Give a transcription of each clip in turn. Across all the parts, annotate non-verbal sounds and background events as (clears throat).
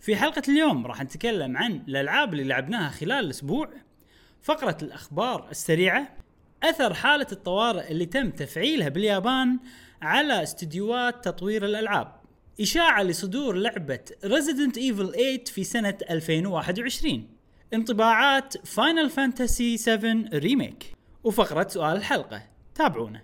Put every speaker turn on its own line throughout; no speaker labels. في حلقة اليوم راح نتكلم عن الألعاب اللي لعبناها خلال الأسبوع فقرة الأخبار السريعة أثر حالة الطوارئ اللي تم تفعيلها باليابان على استديوهات تطوير الألعاب إشاعة لصدور لعبة Resident Evil 8 في سنة 2021 انطباعات Final Fantasy 7 ريميك وفقرة سؤال الحلقة تابعونا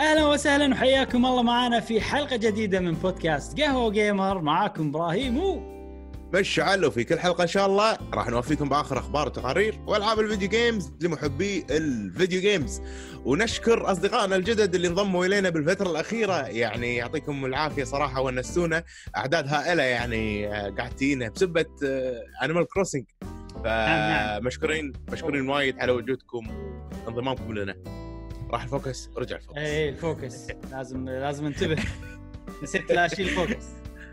اهلا وسهلا وحياكم الله معنا في حلقه جديده من بودكاست قهوه جيمر معاكم ابراهيم و
مشعل وفي كل حلقه ان شاء الله راح نوفيكم باخر اخبار وتقارير والعاب الفيديو جيمز لمحبي الفيديو جيمز ونشكر اصدقائنا الجدد اللي انضموا الينا بالفتره الاخيره يعني يعطيكم العافيه صراحه ونسونا اعداد هائله يعني آه، قاعد تجينا بسبه انيمال كروسنج
نعم.
فمشكورين مشكورين وايد على وجودكم وانضمامكم لنا راح الفوكس رجع الفوكس
ايه الفوكس لازم لازم انتبه
(laughs)
نسيت لا اشيل الفوكس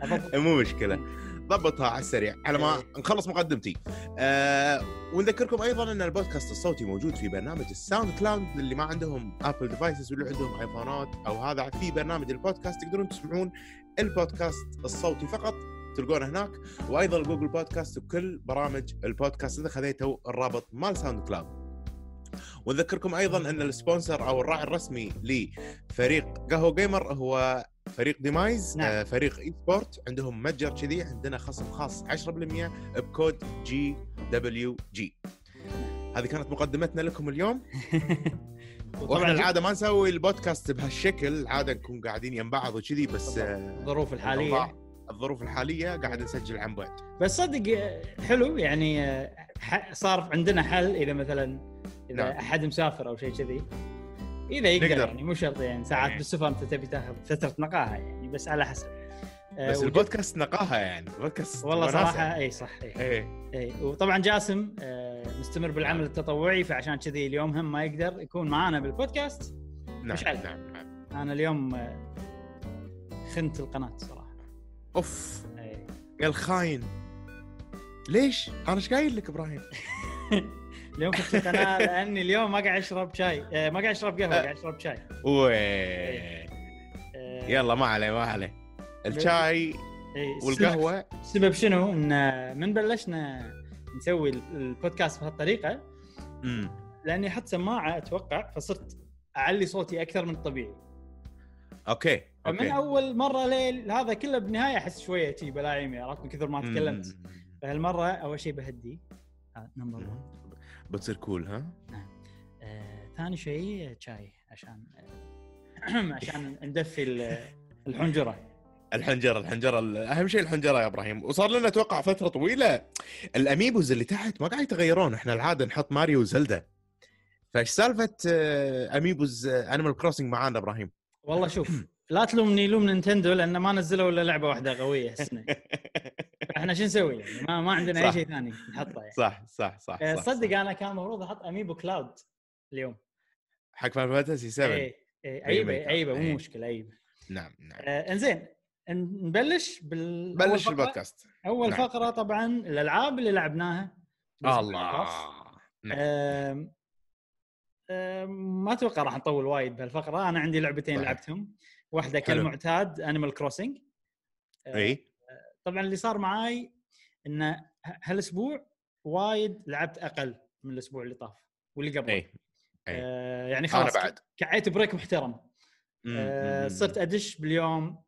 أضبط.
مو مشكله ضبطها على السريع على ما نخلص مقدمتي آه ونذكركم ايضا ان البودكاست الصوتي موجود في برنامج الساوند كلاود اللي ما عندهم ابل ديفايسز واللي عندهم ايفونات او هذا في برنامج البودكاست تقدرون تسمعون البودكاست الصوتي فقط تلقونه هناك وايضا جوجل بودكاست وكل برامج البودكاست اذا خذيتوا الرابط مال ساوند كلاود ونذكركم ايضا ان السبونسر او الراعي الرسمي لفريق قهوه جيمر هو فريق ديمايز
نعم.
نعم. فريق اي سبورت عندهم متجر كذي عندنا خصم خاص 10% بكود جي دبليو جي هذه كانت مقدمتنا لكم اليوم واحنا
وطبعا
العاده ما نسوي البودكاست بهالشكل العاده نكون قاعدين يم بعض وكذي بس
طبعاً.
آه،
الظروف الحاليه
الأوضاع- الظروف الحاليه قاعد نسجل عن بعد
بس صدق آه، حلو يعني آه، ح- صار عندنا حل اذا مثلا اذا
نعم.
احد مسافر او شيء كذي اذا يقدر
نقدر.
يعني مو شرط يعني ساعات
إيه.
بالسفر انت تبي تاخذ فتره نقاهه يعني بس على حسب آه،
بس
وجد-
البودكاست نقاها يعني بودكاست
والله
وناسة.
صراحه اي صح اي
ايه
اي وطبعا جاسم آه، مستمر بالعمل التطوعي فعشان كذي اليوم هم ما يقدر يكون معانا بالبودكاست
نعم
مشعل.
نعم نعم
انا اليوم آه، خنت القناه صراحه
اوف
إي.
يا الخاين ليش؟ انا ايش قايل
(laughs)
لك ابراهيم؟
اليوم خنت القناه لاني اليوم ما قاعد اشرب شاي آه، ما قاعد اشرب قهوه
أه.
قاعد اشرب شاي
ويه
آه،
يلا ما عليه ما عليه الشاي
إي،
والقهوه
السبب شنو ان آه، من بلشنا نسوي ال- البودكاست بهالطريقه
امم
لاني حط سماعه اتوقع فصرت اعلي صوتي اكثر من الطبيعي
اوكي
فمن
اوكي
اول مره ليل هذا كله بالنهايه احس شويه تي بلاعيمي عرفت من كثر ما تكلمت
أمم.
فهالمره اول شيء بهدي هذا نمبر 1
أمم. بتصير كول ها؟
آه، ثاني شيء آه، شاي عشان آه، (clears throat) عشان ندفي ال- الحنجره
الحنجره الحنجره ال- اهم شيء الحنجره يا ابراهيم وصار لنا اتوقع فتره طويله الاميبوز اللي تحت ما قاعد يتغيرون احنا العاده نحط ماريو وزلدا فايش سالفه آه، اميبوز انيمال كروسنج معانا ابراهيم؟
(laughs) والله
(clears throat)
شوف لا تلومني لوم نينتندو لان ما نزلوا الا لعبه واحده قويه هالسنه احنا شو نسوي يعني ما, ما عندنا اي
صح.
شيء ثاني نحطه يعني
صح صح صح
آه،
صح،
صدق
صح.
انا كان المفروض احط اميبو كلاود اليوم
حق فان فانتسي 7
ايه ايه
ريميك.
عيبه عيبه مو
إيه.
مشكله عيبه
نعم نعم
آه، انزين ن- نبلش بال أول
بلش
فقرة.
البودكاست
اول
نعم.
فقره طبعا الالعاب اللي لعبناها
الله نعم
آم، آم، ما اتوقع راح نطول وايد بهالفقره انا عندي لعبتين
صحيح.
لعبتهم واحده
حلو.
كالمعتاد انيمال كروسنج
اي
طبعا اللي صار معاي انه ه- هالاسبوع وايد لعبت اقل من الاسبوع اللي طاف واللي قبله
اي إي.
آه، يعني
انا
خلاص
إيه. بعد
كعيت بريك محترم
مم،
آه،
مم،
صرت ادش باليوم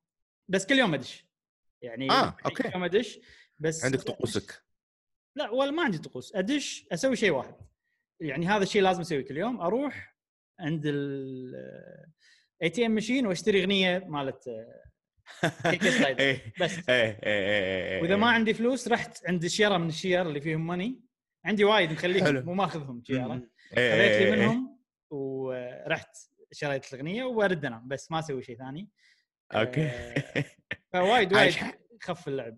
بس كل يوم ادش يعني
آه، أوكي.
كل يوم ادش بس
عندك طقوسك
لا ولا ما عندي طقوس ادش اسوي شيء واحد يعني هذا الشيء لازم اسويه كل يوم اروح عند ال اي تي ام ماشين واشتري اغنيه مالت كيك سلايد.
(laughs) إيه،
بس
إيه، إيه، إيه، إيه،
واذا ما
إيه.
عندي فلوس رحت عند الشيره من الشير اللي فيهم ماني عندي وايد مخليهم
حلو.
مو ماخذهم شيره
مم. إيه،
خذيت
إيه،
لي
إيه، إيه.
منهم ورحت شريت الاغنيه وارد انام بس ما اسوي شيء ثاني
اوكي
آه، فوايد وايد
(laughs) عايش
خف اللعب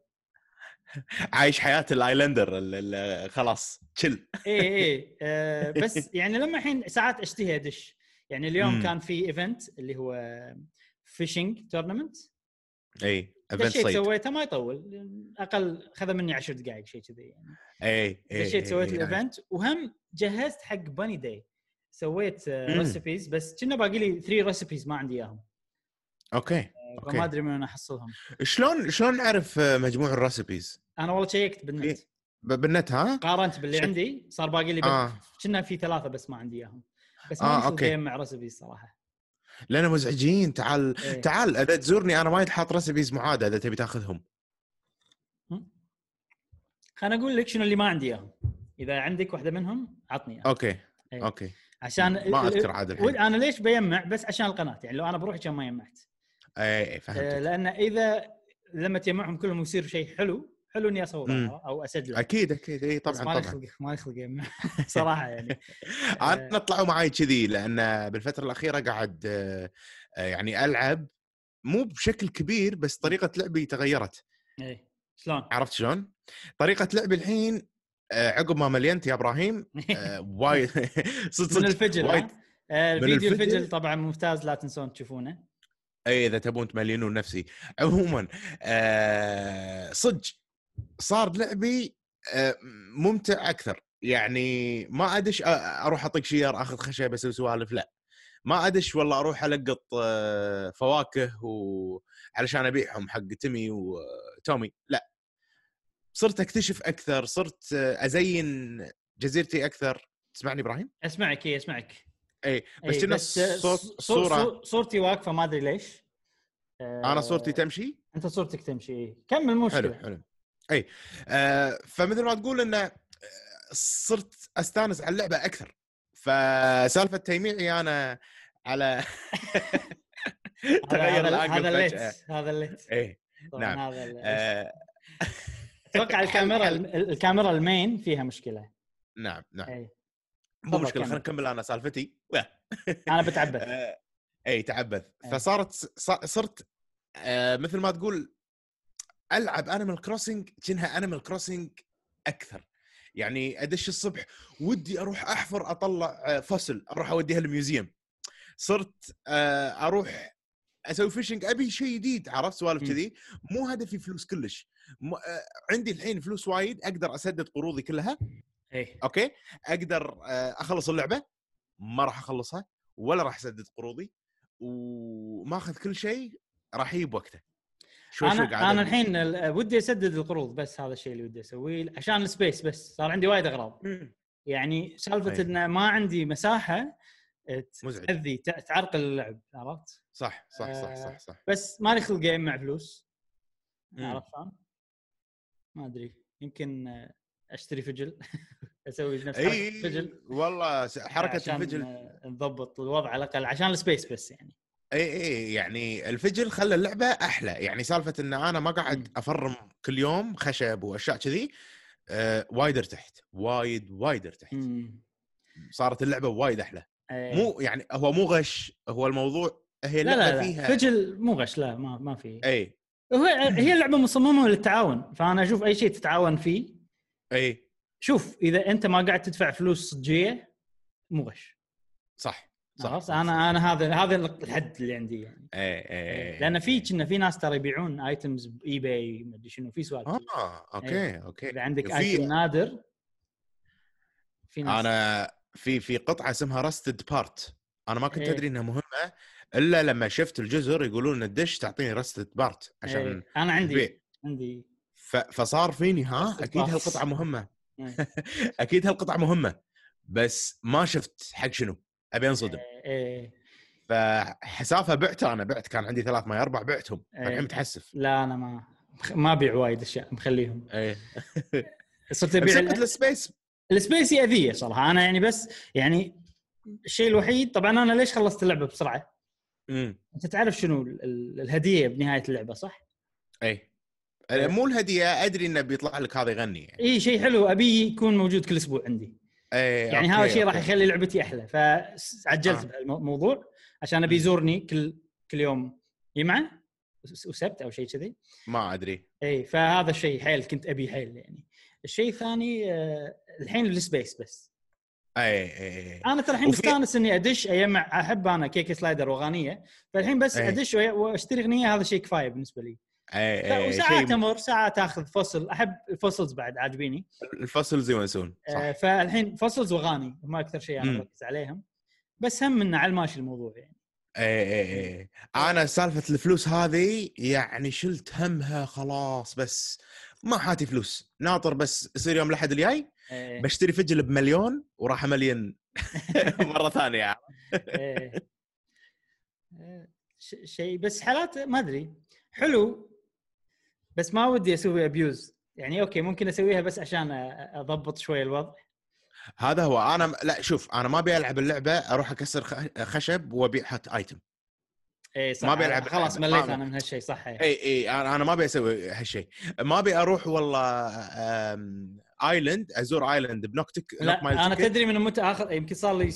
(laughs) عايش حياه الايلاندر ال- ال- خلاص تشل
اي
(laughs)
اي إيه، آه، بس يعني لما الحين ساعات اشتهي ادش يعني اليوم
مم.
كان في ايفنت اللي هو فيشنج تورنمنت
اي event
الشيء
إيه، صيد
سويته ما يطول اقل خذ مني 10 دقائق شيء كذي يعني
اي اي
دشيت سويت
إي، إيه، نايس.
الايفنت وهم جهزت حق باني داي سويت
مم.
ريسبيز بس كنا باقي لي 3 ريسبيز ما عندي اياهم
اوكي يعني. أوكي.
آه، فما ادري من وين احصلهم
شلون شلون نعرف آه، مجموع الريسبيز
انا والله شيكت بالنت
ب- بالنت ها
قارنت باللي
شك-
عندي صار باقي لي بس
اه
كنا في ثلاثه بس ما عندي اياهم بس ما
آه،
آه
أوكي.
اوكي مع ريسبيز صراحه
لان مزعجين تعال
إيه.
تعال اذا تزورني انا وايد حاط ريسبيز معاده اذا تبي تاخذهم
خليني اقول لك شنو اللي ما عندي اياهم اذا عندك واحده منهم عطني إياها.
اوكي
إيه.
اوكي
عشان
ما اذكر عاد الحين
انا ليش بيجمع بس عشان القناه يعني لو انا بروحي كان ما جمعت
اي اي
آه،
فهمت
لان اذا لما تجمعهم كلهم يصير شيء حلو حلو اني
مم.
اصوره او اسجله
اكيد اكيد اي
بس
طبعا
ما
طبعا
يخلق ما يخلق يجمع (laughs) صراحه
(laughs)
يعني
انا طلعوا معي كذي لان بالفتره الاخيره قاعد آه، آه، يعني العب مو بشكل كبير بس طريقه لعبي تغيرت
إيه. شلون؟
عرفت شلون؟ طريقه لعبي الحين آه، عقب ما ملينت يا ابراهيم آه، وايد (laughs)
(laughs) من
صدق صدق
الفجل
وايد.
ها؟ آه،
من
الفيديو
الفجل.
الفجل طبعا ممتاز لا تنسون تشوفونه
اي اذا تبون تملينون نفسي عموما آه، صدق صار لعبي آه، ممتع اكثر يعني ما ادش أ- اروح اطق شير اخذ خشب اسوي سوالف لا ما ادش والله اروح القط آه، فواكه و... علشان ابيعهم حق تيمي وتومي لا صرت اكتشف اكثر صرت آه، ازين جزيرتي اكثر تسمعني ابراهيم
اسمعك اي اسمعك
اي إيه، بس
إي،
كنا
آه،
صوت-
صور-
صورة.
صور- صورتي واقفه ما ادري ليش آه،
انا صورتي تمشي
انت صورتك تمشي إيه. إي. كمل مو
حلو
مشكله
حلو اي آه فمثل ما تقول انه آه، صرت استانس على اللعبه اكثر فسالفه تيميعي انا على
هذا-
تغير
هذا-
الانجل
هذا
فجاه
الليت هذا الليت
اي
طبعاً
نعم.
هذا ال-
آه
اتوقع الكاميرا
حل-
ال- الكاميرا المين فيها إيه. مشكله
نعم نعم
إي.
مو
تفضل
مشكله
كمل.
خلينا نكمل انا سالفتي
انا بتعبث
آه، اي تعبث
إي.
فصارت ص- صرت آه، مثل ما تقول العب انيمال كروسنج كأنها انيمال كروسنج اكثر يعني ادش الصبح ودي اروح احفر اطلع آه، فصل اروح اوديها الميوزيوم صرت آه، اروح اسوي فيشنج ابي شيء جديد عرفت سوالف
مم.
كذي مو هدفي فلوس كلش مو- آه، عندي الحين فلوس وايد اقدر اسدد قروضي كلها
اي
اوكي اقدر آه، اخلص اللعبه ما راح اخلصها ولا راح اسدد قروضي وما اخذ كل شيء راح يجيب وقته شوي شوي
انا
قاعد
انا
أبني.
الحين ال- ودي اسدد القروض بس هذا الشيء اللي ودي اسويه عشان السبيس بس صار عندي وايد اغراض
مم.
يعني سالفه
أي.
ان ما عندي مساحه
مزعج.
تاذي تع- تعرقل اللعب عرفت؟
صح صح صح
آه،
صح صح
بس مالي خلق جيم مع فلوس
مم.
عرفت شلون؟ ما ادري يمكن آه، اشتري فجل (laughs) اسوي نفس حركه
اي
فجل
والله س- حركه
عشان،
الفجل
آه، نضبط الوضع على الاقل عشان السبيس بس يعني
اي اي يعني الفجل خلى اللعبه احلى يعني سالفه ان انا ما
مم.
قاعد افرم كل يوم خشب واشياء كذي آه وايد ارتحت وايد وايد ارتحت
مم.
صارت اللعبه وايد احلى
أي.
مو يعني هو مو غش هو الموضوع هي
إيه. لا
اللعبه
لا, لا.
فيها
فجل مو غش لا ما ما في
اي
هو هي اللعبه مصممه للتعاون فانا اشوف اي شيء تتعاون فيه
اي
شوف اذا انت ما قاعد تدفع فلوس صجيه مو غش
صح صح إيه،
عرفت انا انا هذا هذا الحد اللي عندي يعني
اي اي
لان في كنا في ناس ترى يبيعون ايتمز باي باي ما ادري شنو في سوالف
اه اوكي اوكي
اذا عندك
في-
ايتم نادر في ناس إيه،
انا في في قطعه اسمها راستد بارت انا ما كنت
إيه.
ادري انها مهمه الا لما شفت الجزر يقولون الدش تعطيني راستد بارت عشان
إيه. انا عندي
بي-
عندي
ف- فصار فيني ها
Rusted
اكيد
Parts.
هالقطعه (laughs) مهمه
إيه.
اكيد هالقطعه مهمه بس ما شفت حق شنو ابي انصدم
إيه.
فحسافه بعت انا بعت كان عندي ثلاث ما اربع بعتهم
إيه.
فالحين متحسف
لا انا ما ما ابيع وايد اشياء مخليهم
ايه
صرت ابيع
مسكت السبيس
السبيس اذيه صراحه انا يعني بس يعني الشيء الوحيد طبعا انا ليش خلصت اللعبه بسرعه؟
امم
انت تعرف شنو ال- ال- الهديه بنهايه اللعبه صح؟
اي
إيه.
أنا إيه. مو الهديه ادري انه بيطلع لك هذا يغني يعني
اي شيء حلو ابي يكون موجود كل اسبوع عندي
اي
يعني
إيه، أوكي،
هذا الشيء راح
أوكي.
يخلي لعبتي احلى فعجلت
آه.
بهالموضوع عشان ابي يزورني كل كل يوم جمعه وس- وسبت او شيء كذي
ما ادري
اي فهذا الشيء حيل كنت ابي حيل يعني الشيء الثاني آه، الحين السبيس بس
اي اي
انا ترى الحين
وفي-
مستانس اني ادش اجمع احب انا كيك سلايدر واغانيه فالحين بس
إيه.
ادش وأ- واشتري اغنيه هذا شيء كفايه بالنسبه لي
اي اي
وساعات
شيء
امر ساعات اخذ فصل احب الفصلز بعد عاجبيني
الفصلز يونسون صح
آه، فالحين فصلز واغاني هم اكثر شيء انا
مم.
مركز عليهم بس هم انه على الماشي الموضوع يعني
اي اي
إيه.
اي انا سالفه إيه. الفلوس هذه يعني شلت همها خلاص بس ما حاتي فلوس ناطر بس يصير يوم الاحد الجاي
آه،
بشتري فجل بمليون
(laughs)
وراح املين مره ثانيه
إيه. إيه. ش- شيء بس حالات ما ادري حلو بس ما ودي اسوي ابيوز يعني اوكي ممكن اسويها بس عشان أ- اضبط شوي الوضع
هذا هو انا لا شوف انا ما ابي العب اللعبه اروح اكسر خ- خشب وابيع حط ايتم
اي إيه، صح
ما أبي ألعب
خلاص
اللعبة.
مليت
ما-
انا من هالشيء صح إيه.
اي اي انا انا ما ابي اسوي هالشيء ما ابي اروح والله أم، ايلاند ازور ايلاند بنوكتك
لا
نوك ماي
انا
تيكت.
تدري من متى اخر يمكن صار لي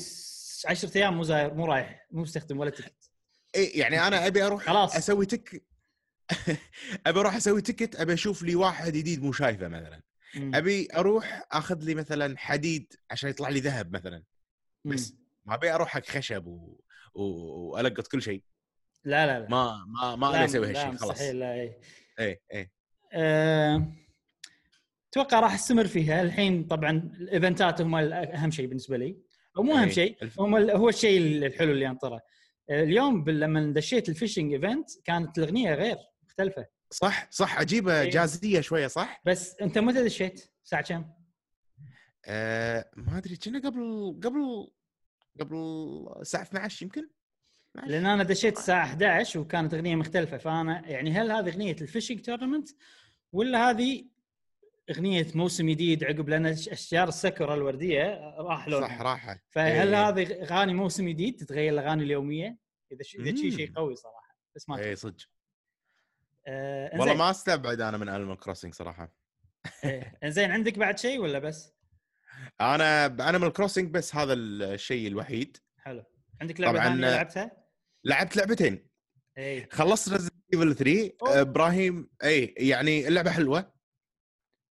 10 ايام مو زاير مو رايح مو مستخدم ولا تكت
اي يعني انا ابي اروح
خلاص.
اسوي تك (laughs) ابي اروح اسوي تكت ابي اشوف لي واحد جديد مو شايفه مثلا
مم.
ابي اروح اخذ لي مثلا حديد عشان يطلع لي ذهب مثلا
مم.
بس ما ابي اروح حق خشب و... و... والقط كل شيء
لا لا لا
ما ما ما
لا،
ابي اسوي
لا،
هالشيء خلاص
مستحيل لا إيه. اي
اي اي
أه، اتوقع راح استمر فيها الحين طبعا الايفنتات هم اهم شيء بالنسبه لي او مو اهم
إيه.
شيء
الف-
هم ال- هو الشيء الحلو اللي انطره أه، اليوم بال- لما دشيت الفishing ايفنت كانت الاغنيه غير مختلفه
صح صح عجيبه
إي.
جازيه شويه صح؟
بس انت متى دشيت؟ الساعه كم؟
آه ما ادري كنا قبل قبل قبل الساعه 12 يمكن
لان انا دشيت الساعه 11 وكانت اغنيه مختلفه فانا يعني هل هذه اغنيه الفيشنج تورنمنت ولا هذه اغنيه موسم جديد عقب لان أش- اشجار السكره الورديه راح لونها
صح راحه
فهل
إيه.
هذه اغاني موسم جديد تتغير الاغاني اليوميه؟ اذا ش... اذا شيء
مم.
شيء قوي صراحه بس ما أدري.
اي إيه، صدق
آه
والله
والله
ما استبعد انا من المال كروسنج صراحه
ما انزين إيه. عندك بعد شيء ولا بس؟
انا بانيمال كروسنج بس هذا الشيء الوحيد
حلو عندك لعبه
طبعاً،
ثانيه
آه،
لعبتها؟ إيه،
لعبت لعبتين
اي
خلصت ريزنت ايفل 3
أوه.
ابراهيم اي آه، يعني اللعبه حلوه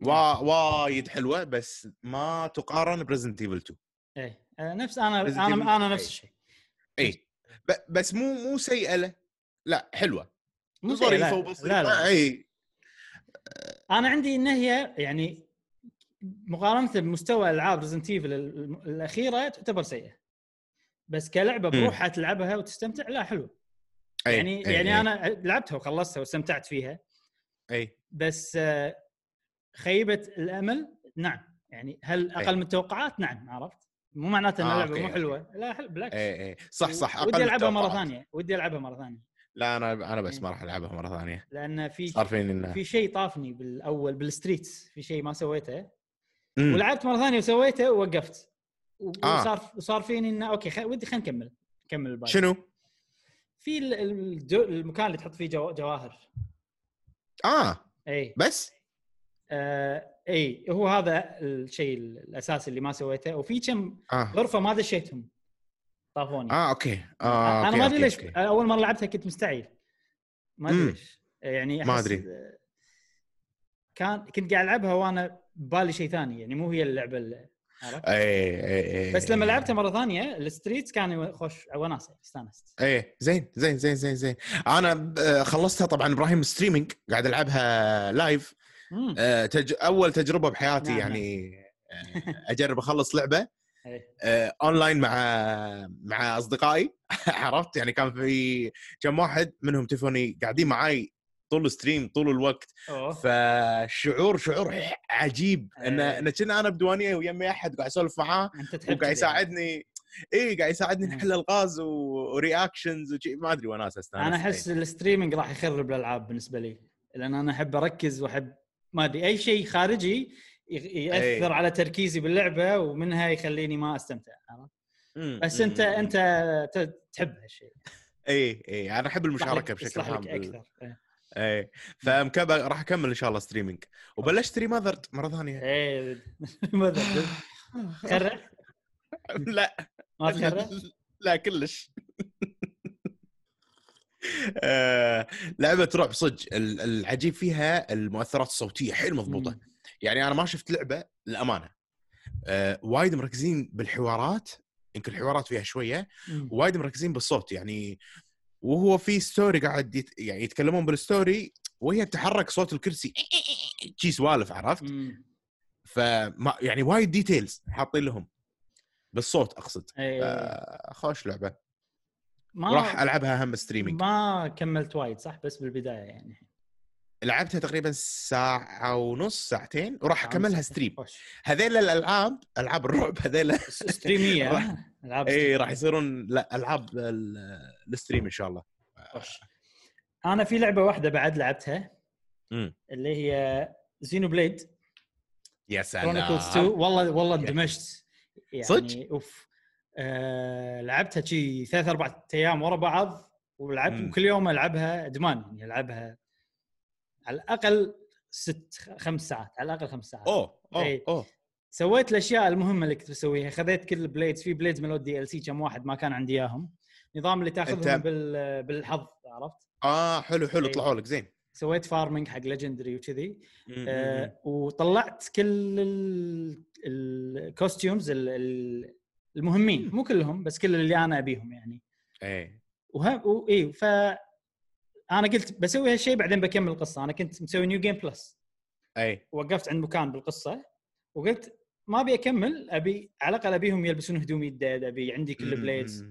وا
نعم.
وايد حلوه بس ما تقارن بريزنت ايفل 2
اي آه نفس انا
Resident
انا انا
Evil.
نفس الشيء
اي إيه. ب- بس مو مو سيئه له لا حلوه
مو سيئة،
ظريفه
لا.
وبسيطه
لا لا
اي
انا عندي ان هي يعني مقارنه بمستوى العاب ريزنت ايفل الاخيره تعتبر سيئه بس كلعبه بروحها تلعبها وتستمتع لا حلو
أي.
يعني
أي.
يعني
أي.
انا لعبتها وخلصتها واستمتعت فيها
اي
بس آه، خيبه الامل نعم يعني هل اقل
إيه.
من التوقعات نعم عرفت مو معناته ان
آه،
اللعبه
أوكي،
مو
أوكي.
حلوه لا حل بالعكس
اي اي إيه، صح صح أقل
ودي
من
العبها مره
التوقعات.
ثانيه ودي العبها مره ثانيه
لا انا انا بس
إيه.
ما راح العبها مره ثانيه
لان في
صار فيني انه
في شيء طافني بالاول بالستريتس في شيء ما سويته
أمم.
ولعبت مره ثانيه وسويته ووقفت و-
آه.
وصار وصار فيني انه اوكي خ... ودي خلينا نكمل نكمل الباقي
شنو؟
في ال- الدو... المكان اللي تحط فيه جو... جواهر
اه
اي
بس
آه اي هو هذا الشيء الاساسي اللي ما سويته وفي كم
اه
غرفه ما دشيتهم طافوني
اه اوكي
آه
اه
انا
أوكي،
ما ادري
أوكي،
ليش
أوكي.
أنا اول مره لعبتها كنت مستعيل ما ادري
مم.
ليش يعني
ما
أحس-
أدري.
كان كنت قاعد العبها وانا ببالي شيء ثاني يعني مو هي اللعبه اللي عرفت؟
اي اي اي
بس لما لعبتها مره ثانيه الستريتس كان خوش وناسه استانست
ايه زين زين زين زين زين انا ب- آه، خلصتها طبعا ابراهيم ستريمينج قاعد العبها لايف
مم.
آه، تج... اول تجربه بحياتي
نعم،
يعني آه، اجرب اخلص لعبه
إيه.
آه، اونلاين مع مع اصدقائي (laughs) عرفت يعني كان في كم واحد منهم تيفوني قاعدين معاي طول الستريم طول الوقت
أوه.
فشعور شعور عجيب ان
إيه.
ان كنا انا بديوانيه ويمي احد قاعد اسولف معاه
انت تحب كذا
وقاعد
يعني.
يساعدني اي قاعد يساعدني
مم.
نحل الغاز و- ورياكشنز وشي ما ادري وناس استانس
انا احس الستريمنج راح يخرب الالعاب بالنسبه لي لان انا احب اركز واحب ما ادري اي شيء خارجي يغ- ياثر
إيه.
على تركيزي باللعبه ومنها يخليني ما استمتع عرفت؟
إيه.
بس انت انت ت- تحب هالشيء
اي اي انا
يصلح لك-
احب المشاركه بشكل
يصلح
عام
لك
بال-
اكثر إيه.
اي فمكمل راح اكمل ان شاء الله ستريمينج وبلشت اشتري ماذرد مره ثانيه
ايه ما أدري. تخرع إيه.
(laughs) لا
ما تخرع
(laughs) لا كلش آه، لعبه رعب صدق ال- العجيب فيها المؤثرات الصوتيه حيل مضبوطه
مم.
يعني انا ما شفت لعبه للامانه آه، وايد مركزين بالحوارات يمكن الحوارات فيها شويه
مم.
وايد مركزين بالصوت يعني وهو في ستوري قاعد يت... يعني يتكلمون بالستوري وهي تحرك صوت الكرسي (laughs) شي سوالف عرفت
مم.
فما يعني وايد ديتيلز حاطين لهم بالصوت اقصد
اي
آه، خوش لعبه راح
إيه، ما
العبها هم ستريمينج
آه. ما كملت وايد صح بس بالبدايه يعني
لعبتها تقريبا ساعه ونص ساعتين وراح
آه،
اكملها ستريم
خوش.
هذيل الالعاب العاب الرعب هذيل
ستريميه
(laughs) راح- إيه،
ها؟ العاب
اي راح يصيرون لا العاب ال- الستريم ان شاء الله
خوش. انا في لعبه واحده بعد لعبتها
مم.
اللي هي زينو بليد
يا
كرونيكلز 2 والله والله اندمجت يعني
صدق؟
اوف آه لعبتها شي ثلاث اربع ايام ورا بعض
مم.
ولعبت كل يوم العبها ادمان يعني العبها على الاقل ست خمس ساعات على الاقل خمس ساعات
اوه اوه
إي.
اوه
سويت الاشياء المهمه اللي كنت بسويها خذيت كل البليدز في بليدز ملود دي ال سي كم واحد ما كان عندي اياهم نظام اللي تاخذهم
أنت-
بال... بالحظ عرفت
اه حلو حلو
إي.
طلعوا لك زين
سويت فارمنج حق ليجندري وكذي
مم.
آه، وطلعت كل الكوستيومز المهمين مو كلهم بس كل اللي انا ابيهم يعني
ايه
وهم اي ف انا قلت بسوي هالشيء بعدين بكمل القصه انا كنت مسوي نيو جيم بلس
ايه
وقفت عند مكان بالقصه وقلت ما ابي اكمل ابي على الاقل ابيهم يلبسون هدومي الديد ابي عندي كل
مم.
بليدز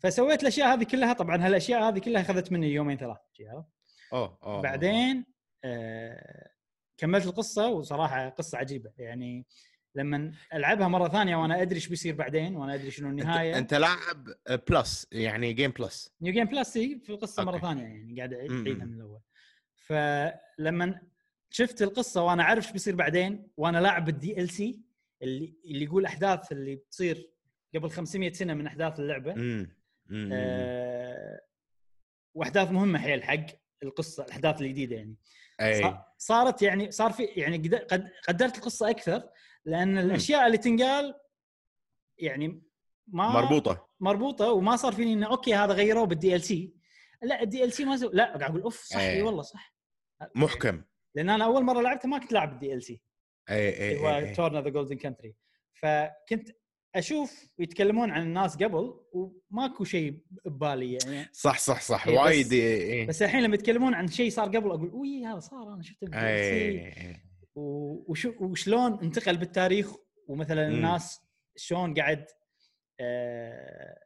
فسويت الاشياء هذه كلها طبعا هالاشياء هذه كلها اخذت مني يومين ثلاث عرفت؟
اوه اوه
بعدين آه كملت القصه وصراحه قصه عجيبه يعني لما العبها مره ثانيه وانا ادري ايش بيصير بعدين وانا ادري شنو
انت,
النهايه
انت لاعب بلس يعني جيم بلس
نيو جيم بلس إي، في القصه مره
أوكي.
ثانيه يعني قاعد أعيد-
مم.
اعيدها من الاول فلما شفت القصه وانا عارف ايش بيصير بعدين وانا لاعب الدي ال سي اللي اللي يقول احداث اللي بتصير قبل 500 سنه من احداث اللعبه
مم. مم.
آه واحداث مهمه حيل حق القصه الاحداث الجديده يعني
اي
صار- صارت يعني صار في يعني قد- قد- قدرت القصه اكثر لان الاشياء اللي تنقال يعني ما
مربوطه
مربوطه وما صار فيني انه اوكي هذا غيروه بالدي ال سي لا الدي ال سي ما سو... لا قاعد اقول اوف صح
إيه.
اي والله صح
محكم إيه،
لان انا اول مره لعبته ما كنت لاعب الدي ال سي
اي اي
اللي هو تورنا ذا جولدن كنتري فكنت اشوف يتكلمون عن الناس قبل وماكو شيء ببالي يعني
صح صح صح
إي، بس-
وايد إيه، اي
بس الحين لما يتكلمون عن شيء صار قبل اقول وي هذا صار انا شفته
إيه،
بالدي ال سي
اي
و- وشو وشلون انتقل بالتاريخ ومثلا
مم.
الناس شلون قاعد آه،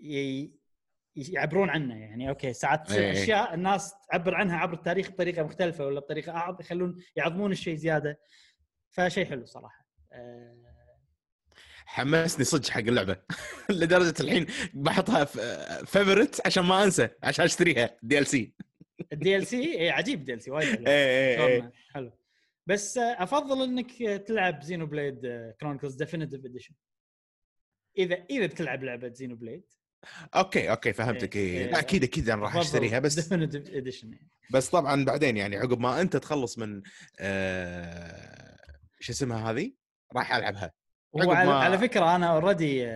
ي- يعبرون عنه يعني اوكي ساعات تصير
إي.
اشياء الناس تعبر عنها عبر التاريخ بطريقه مختلفه ولا بطريقه اعظم يخلون يعظمون الشيء زياده فشيء حلو صراحه آه،
حمسني صدق حق (laughs) اللعبه لدرجه الحين بحطها فيفورت عشان ما انسى عشان اشتريها دي ال سي
الدي ال سي إيه، عجيب الدي ال سي وايد حلو.
اي
شلون؟ حلو بس آه، افضل انك آه، تلعب آه، زينو بليد كرونيكلز ديفينيتيف اديشن اذا اذا بتلعب لعبه زينو بليد
اوكي اوكي فهمتك
إيه،
اي
إيه.
لا اكيد اكيد انا راح اشتريها
(laughs)
بس
ديفينيتيف اديشن
بس طبعا بعدين يعني عقب ما انت تخلص من آه، شو اسمها هذه راح العبها
هو
عقب
على,
ما-
على فكره انا اوريدي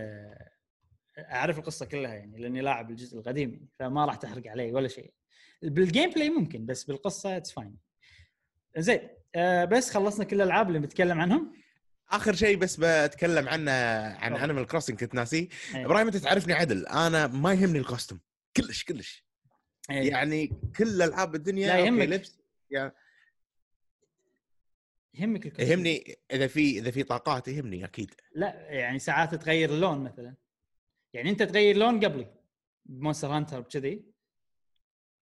اعرف القصه آه، كلها يعني لاني لاعب الجزء القديم يعني فما راح تحرق علي ولا شيء بالجيم بلاي ممكن بس بالقصه اتس فاين زين آه، بس خلصنا كل الالعاب اللي بنتكلم عنهم
اخر شيء بس بتكلم عنه عن
تفضل.
انيمال كروسنج كنت ناسيه
إيه.
ابراهيم انت تعرفني عدل انا ما يهمني الكوستم كلش كلش
إيه.
يعني كل العاب الدنيا
لا
أوكي،
يهمك
لبس يعني-
يهمك الكوستيوم.
يهمني اذا في اذا في طاقات يهمني اكيد
لا يعني ساعات تغير اللون مثلا يعني انت تغير لون قبلي بمونستر هانتر كذي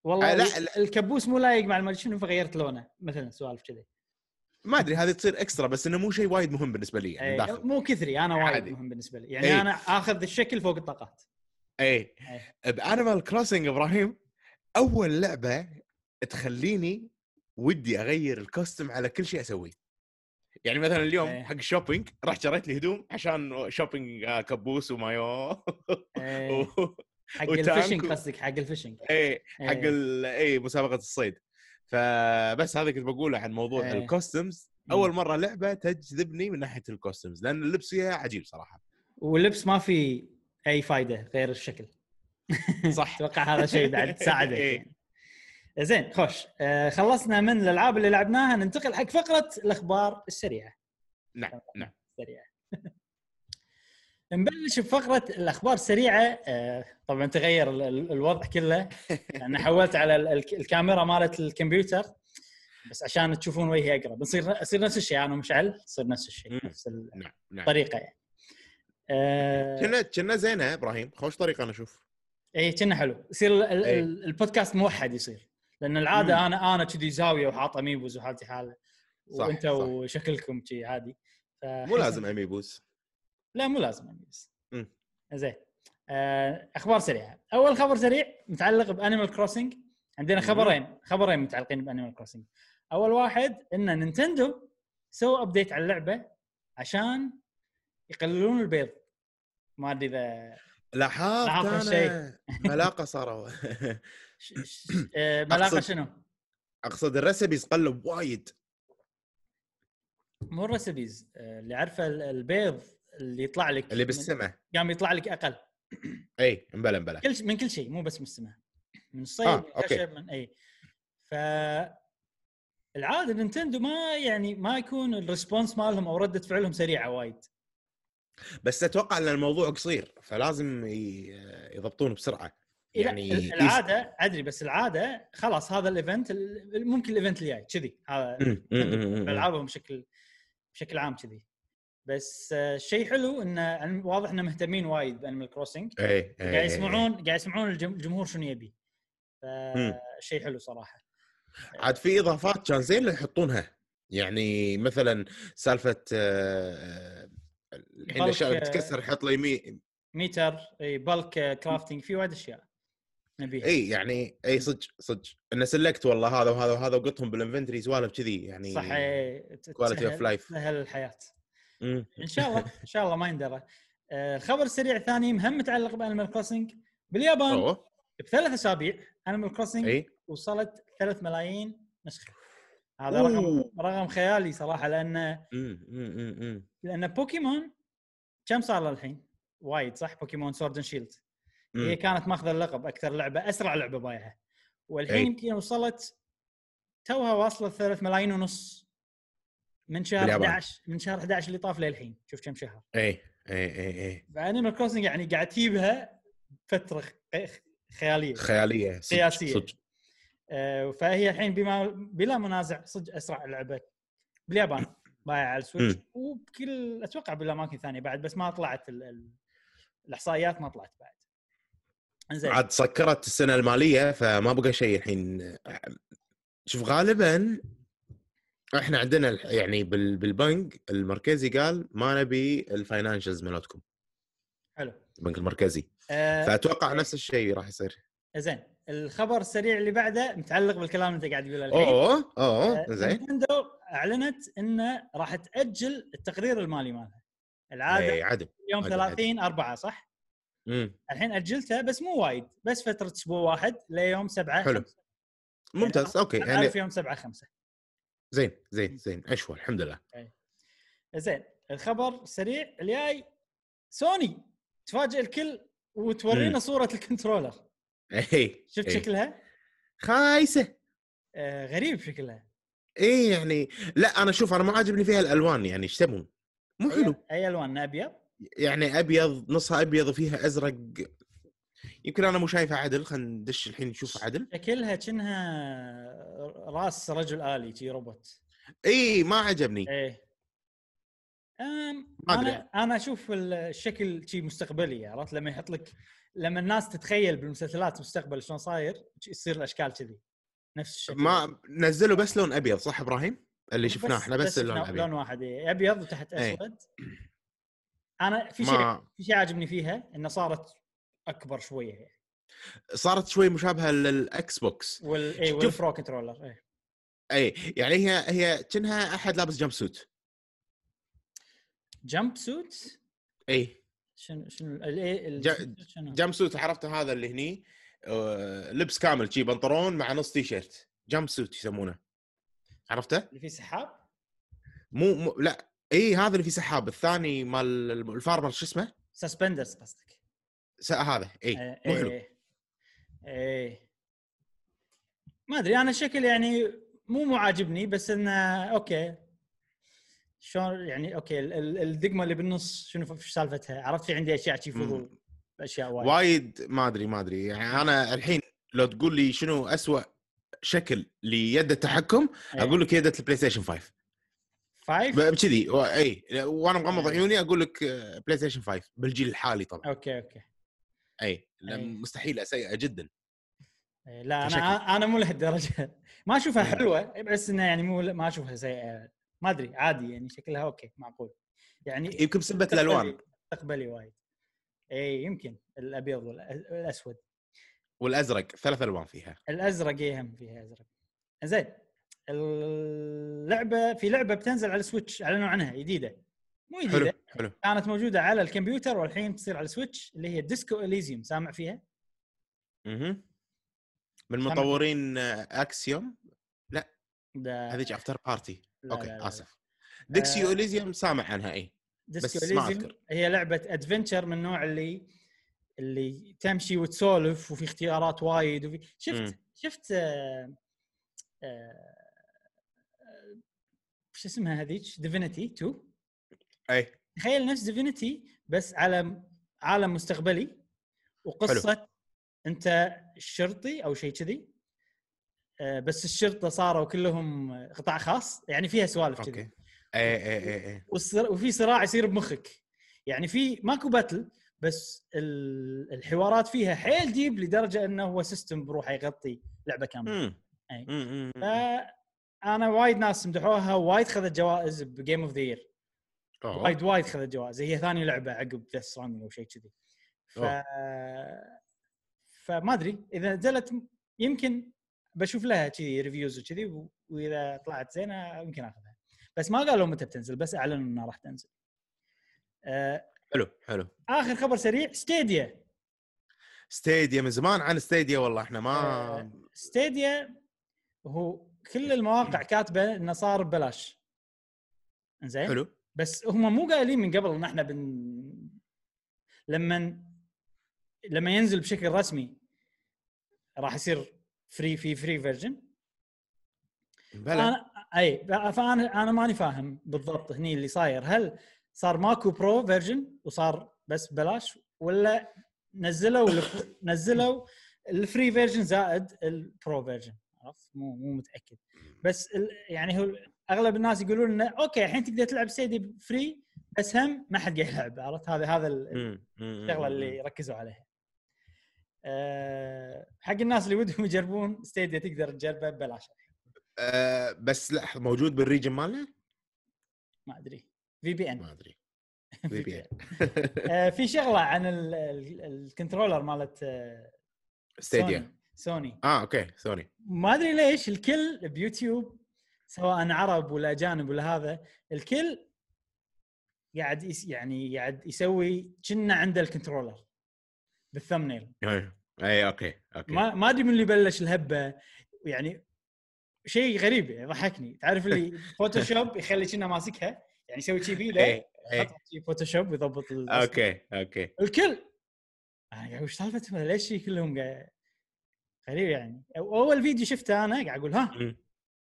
والله
آه، لا،
لا لا الكبوس مو لايق مع المدري شنو فغيرت لونه مثلا سوالف كذي
ما ادري هذه تصير اكسترا بس انه مو شيء وايد مهم بالنسبه لي يعني
إيه،
داخل
مو كثري انا وايد
عادي.
مهم بالنسبه لي يعني
إيه.
انا اخذ الشكل فوق الطاقات
اي
إيه.
بانيمال كروسنج ابراهيم اول لعبه تخليني ودي اغير الكوستم على كل شيء اسويه يعني مثلا اليوم
إيه.
حق الشوبينج رحت شريت لي هدوم عشان شوبينج آه، كبوس ومايو (laughs)
إيه، حق
وتانك
الفشنج
و-
قصدك حق الفشنج
اي حق
إيه.
ال- اي مسابقه الصيد فبس هذا كنت بقوله عن موضوع
إيه.
الكوستمز اول مره لعبه تجذبني من ناحيه الكوستمز لان اللبس فيها عجيب
(laughs)
صراحه
واللبس ما في اي فائده غير الشكل
صح
اتوقع هذا شيء
(laughs)
بعد ساعدك
إيه.
يعني. زين خوش آه، خلصنا من الالعاب اللي لعبناها ننتقل حق فقره الاخبار السريعه
نعم نعم
سريعه (laughs) نبلش بفقره الاخبار السريعه آه، طبعا تغير ال- ال- الوضع
(laughs)
كله انا حولت على ال- ال- الكاميرا مالت الكمبيوتر بس عشان تشوفون وجهي اقرب نصير نصير نفس الشيء انا ومشعل نصير نفس
مم.
الشيء نفس
نعم نعم
الطريقه يعني آه،
كنا كنا زينه ابراهيم خوش طريقه
(laughs)
انا اشوف
اي إيه، كنا حلو يصير ال- ال-
إي.
ال- البودكاست موحد يصير لان العاده
إيه. مم.
انا انا كذي زاويه وحاط اميبوز وحالتي حاله
صح،
وانت
صح.
وشكلكم كذي عادي
مو لازم اميبوس
لا مو لازم اميبوز
مم.
زين آه، اخبار سريعه اول خبر سريع متعلق بانيمال كروسنج عندنا
مم.
خبرين خبرين متعلقين بانيمال كروسنج اول واحد ان نينتندو سووا ابديت على اللعبه عشان يقللون البيض ما ادري اذا
لاحظت
لاحظت
انا ملاقه صاروا (laughs)
ش- ش- آه، ملاقه
أقصد-
شنو؟
اقصد الرسبيز قلب وايد
مو الريسبيز آه، اللي عارفه ال- البيض اللي يطلع لك
اللي بالسماء
من- قام يطلع لك اقل
اي مبلا مبلا
كل ش- من كل شيء مو بس من السماء من الصيد
آه،
من
أوكي.
الخشب من اي ف العاده نينتندو ما يعني ما يكون الريسبونس مالهم او رده فعلهم سريعه وايد
بس اتوقع ان الموضوع قصير فلازم ي-
(laughs)
يضبطون بسرعه يعني
ال- العاده ادري بس العاده خلاص هذا الايفنت ال- ممكن الايفنت الجاي كذي هذا
أمم، أمم، أمم، أمم.
العابهم بشكل بشكل عام كذي بس آه، شيء حلو انه أن- واضح انه مهتمين وايد بانيمال كروسنج
اي إي.
قاعد يسمعون قاعد يسمعون الجم- الجمهور شنو يبي فشيء حلو صراحه
عاد في اضافات كان زين اللي يحطونها يعني مثلا سالفه آه، آه، الحين
بلك،
الاشياء اللي
آه،
بتتكسر حط له يمين
ميتر اي بالك كرافتنج في وايد اشياء نبيها
اي يعني اي صدق صدق انه سلكت والله هذا وهذا وهذا وقطهم بالانفنتري سوالف كذي يعني
صح إي، ت-
كواليتي
تسهل-
اوف لايف
تسهل الحياه ان شاء الله ان شاء الله ما يندرى آه، الخبر السريع الثاني مهم متعلق بانيمال كروسنج باليابان
اوه
بثلاث اسابيع انيمال كروسنج
اي
وصلت 3 ملايين نسخه هذا رقم
أوه.
رقم خيالي صراحه لان
أمم، أمم، أمم، أمم.
لان بوكيمون كم صار له الحين؟ وايد صح بوكيمون سورد شيلد
أمم.
هي كانت ماخذه اللقب اكثر لعبه اسرع لعبه بايعها والحين
إي.
يمكن وصلت توها واصله 3 ملايين ونص من شهر
باليابان.
11 من شهر 11 اللي طاف للحين شوف كم شهر
اي اي اي اي
فانيمال كروسنج يعني قاعد تجيبها فتره خ- خياليه
خياليه صدق،
سياسية.
صدق
آه، فهي الحين بما بلا منازع صدق اسرع لعبه باليابان بايع على السويتش
مم.
وبكل اتوقع بالاماكن الثانيه بعد بس ما طلعت ال... ال... الاحصائيات ما طلعت بعد انزين
عاد سكرت السنه الماليه فما بقى شيء الحين شوف غالبا احنا عندنا الح- يعني بال- بالبنك المركزي قال ما نبي الفاينانشز مالتكم
حلو
البنك المركزي
آه،
فاتوقع نفس الشيء راح يصير
زين الخبر السريع اللي بعده متعلق بالكلام اللي انت قاعد تقوله الحين
اوه اوه
آه،
زين
نينتندو اعلنت انه راح تاجل التقرير المالي مالها العاده
اي عدل
يوم
عادي، عادي.
30 4 صح؟
إيه، مم.
الحين اجلتها بس مو وايد بس فتره اسبوع واحد ليوم 7
حلو. ممتاز اوكي
يعني
يعني
أعرف يوم 7 5
زين زين زين اشوى الحمد لله
زين الخبر السريع الجاي سوني تفاجئ الكل وتورينا
مم. إيه.
صوره الكنترولر
اي
شفت
إي.
شكلها؟
خايسه
آه غريب شكلها
اي يعني لا انا شوف انا ما عاجبني فيها الالوان يعني ايش تبون؟ مو حلو
أي- اي الوان ابيض
يعني ابيض نصها ابيض وفيها ازرق يمكن انا مو شايفه عدل خلينا ندش الحين نشوف عدل
شكلها كأنها راس رجل آلي شي روبوت
اي ما عجبني
ايه أم
إيه. ما أدري.
انا انا اشوف الشكل شي مستقبلي عرفت لما يحط لك لما الناس تتخيل بالمسلسلات مستقبل شلون صاير يصير الاشكال كذي نفس الشكل
ما نزلوا بس لون ابيض صح ابراهيم اللي
بس-
شفناه احنا بس اللون
شفنا لون
الابيض
واحد إيه، ابيض وتحت
إيه.
اسود انا في شيء
ما
في شيء عاجبني فيها انه صارت اكبر شويه يعني
صارت شوي مشابهه للاكس بوكس
وال اي
شوف.
والبرو كنترولر إيه.
اي يعني هي هي كأنها احد لابس جمب سوت
جمب سوت
اي
شنو شنو ال- إيه، ال-
ج-
شنو؟
جمب سوت عرفته هذا اللي هني آه، لبس كامل شي بنطلون مع نص تي شيرت جمب سوت يسمونه عرفته؟
اللي فيه سحاب
مو, مو لا اي هذا اللي فيه سحاب الثاني مال الفارمر شو اسمه؟
سسبندرز قصدك آه، إيه،
س- هذا
أيوة،
اي إيه، مو حلو.
اي ما ادري انا الشكل يعني مو مو عاجبني بس انه اوكي شلون يعني اوكي ال- ال- الدقمه اللي بالنص شنو ف- شو سالفتها؟ عرفت في عندي اشياء شي فضول اشياء وايد
وايد ما ادري ما ادري يعني انا الحين لو تقول لي شنو اسوء شكل ليد التحكم
إيه.
اقول لك يد البلاي ستيشن 5
فايف
ب- بكذي و- اي وانا مغمض عيوني اقول لك آه، بلاي ستيشن 5 بالجيل الحالي طبعا
اوكي اوكي
اي لأن
إيه.
مستحيله سيئه جدا
إيه، لا
كشكل.
انا انا مو لهالدرجه (laughs) ما اشوفها
إيه.
حلوه بس انه يعني مو ما اشوفها سيئه ما ادري عادي يعني شكلها اوكي معقول يعني
يمكن بسبه الالوان
تقبلي وايد اي يمكن الابيض والاسود
والازرق ثلاث الوان فيها
الازرق يهم فيها ازرق زين اللعبه في لعبه بتنزل على السويتش اعلنوا عنها جديده مو
حلو
جديده
حلو
كانت موجوده على الكمبيوتر والحين بتصير على السويتش اللي هي ديسكو اليزيوم سامع فيها
مهم. من مطورين اكسيوم
ده
هذيك افتر بارتي
لا،
اوكي
لا، آه. لا.
اسف ديكسيو اليزيوم سامع عنها إيه. اي
ديسكو
بس ما
اليزيوم
أذكر.
هي لعبه ادفنتشر من النوع اللي اللي تمشي وتسولف وفي اختيارات وايد وفي شفت
مم.
شفت آه، آه، شو اسمها هذيك ديفينيتي 2
اي
تخيل نفس ديفينيتي بس على عالم مستقبلي وقصه حلو. انت شرطي او شيء كذي آه، بس الشرطه صاروا كلهم قطاع خاص يعني فيها سوالف كذي
اوكي اي اي اي, أي.
والصرا- وفي صراع يصير بمخك يعني في ماكو باتل بس ال- الحوارات فيها حيل ديب لدرجه انه هو سيستم بروحه يغطي لعبه كامله
مم.
أي. آه،
مم، مم، مم.
فانا وايد ناس مدحوها وايد خذت جوائز بجيم اوف ذا يير
أوه.
وايد وايد خذت جوائز هي ثاني لعبه عقب ذا ستراندنج او شيء كذي ف
أوه.
فما ادري اذا نزلت م- يمكن بشوف لها كذي ريفيوز وكذي و- واذا طلعت زينه يمكن اخذها بس ما قالوا متى بتنزل بس اعلنوا انها راح تنزل آه،
حلو حلو
اخر خبر سريع ستيديا
ستيديا من زمان عن ستيديا والله احنا ما
آه، ستيديا هو كل المواقع كاتبه انه صار ببلاش زين
حلو
بس هم مو قايلين من قبل ان احنا بن لما لما ينزل بشكل رسمي راح يصير فري في فري فيرجن
بلا
انا اي فانا انا ماني فاهم بالضبط هني اللي صاير هل صار ماكو برو فيرجن وصار بس بلاش ولا نزلوا الف- نزلوا الفري فيرجن زائد البرو فيرجن عرفت مو مو متاكد بس ال- يعني هو اغلب الناس يقولون انه اوكي الحين تقدر تلعب سيدي فري بس هم ما حد قاعد يلعب عرفت هذا هذا ال- (laughs)
مم، مم،
الشغله
مم،
اللي
مم.
ركزوا عليها. أه حق الناس اللي ودهم يجربون ستيديا تقدر تجربه ببلاش
آه، بس لحظه موجود بالريجن مالنا؟
ما ادري في بي ان
ما
(laughs)
ادري في بي إن.
آه، في شغله عن ال- ال- الكنترولر مالت آه،
(laughs) ستيديا
سوني- سوني
اه اوكي سوري
ما ادري ليش الكل بيوتيوب سواء عرب ولا اجانب ولا هذا الكل قاعد يس يعني قاعد يسوي كنا عنده الكنترولر بالثمنيل
اي إي، اوكي اوكي
ما ما ادري من اللي بلش الهبه يعني شيء غريب يعني ضحكني تعرف اللي فوتوشوب يخلي كنا ماسكها يعني يسوي شي بيده
إي، إي.
يحط شي فوتوشوب ويضبط ال-
اوكي اوكي
الكل انا قاعد وش سالفتهم ليش شي كلهم قاعد غريب يعني أو- اول فيديو شفته انا قاعد اقول ها
مم.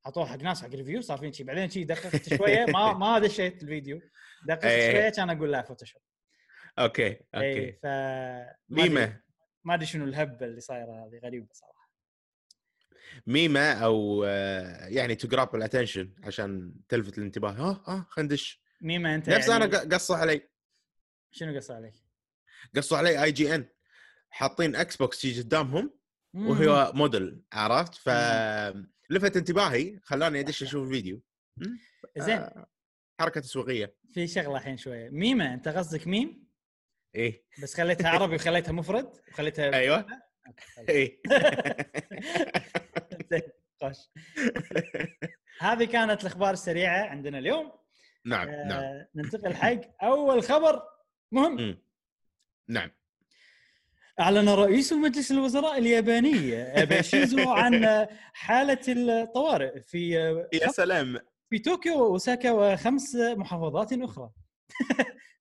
حطوه حق ناس حق ريفيو صار فين شي بعدين شي
(laughs)
دققت شويه ما ما دشيت الفيديو دققت
إيه.
شويه كان اقول لا فوتوشوب
اوكي
اي
اوكي
ف إيه، ما أدري-
ميمه
ما ادري شنو الهبه اللي صايره هذه غريبه صراحه
ميمه او آه، يعني تو جراب الاتنشن عشان تلفت الانتباه اه اه خلينا ندش
ميمه انت
نفس
يعني
انا ق- قصوا علي
شنو قص عليك؟
قصوا علي اي جي ان حاطين اكس بوكس شي قدامهم
مم.
وهو آه. موديل عرفت فلفت انتباهي خلاني ادش اشوف الفيديو
زين
آه، حركه تسويقيه
في شغله الحين شويه ميمه انت قصدك ميم
ايه
بس خليتها عربي وخليتها مفرد وخليتها (laughs)
ايوه ايه
(laughs) زين،
(laughs)
خوش هذه كانت الاخبار السريعه عندنا اليوم
نعم نعم
آه، ننتقل حق اول خبر مهم
مم. نعم
اعلن رئيس مجلس الوزراء الياباني ابي
(laughs)
شينزو عن حاله الطوارئ في آه،
يا سلام
في طوكيو واوساكا وخمس محافظات (laughs) اخرى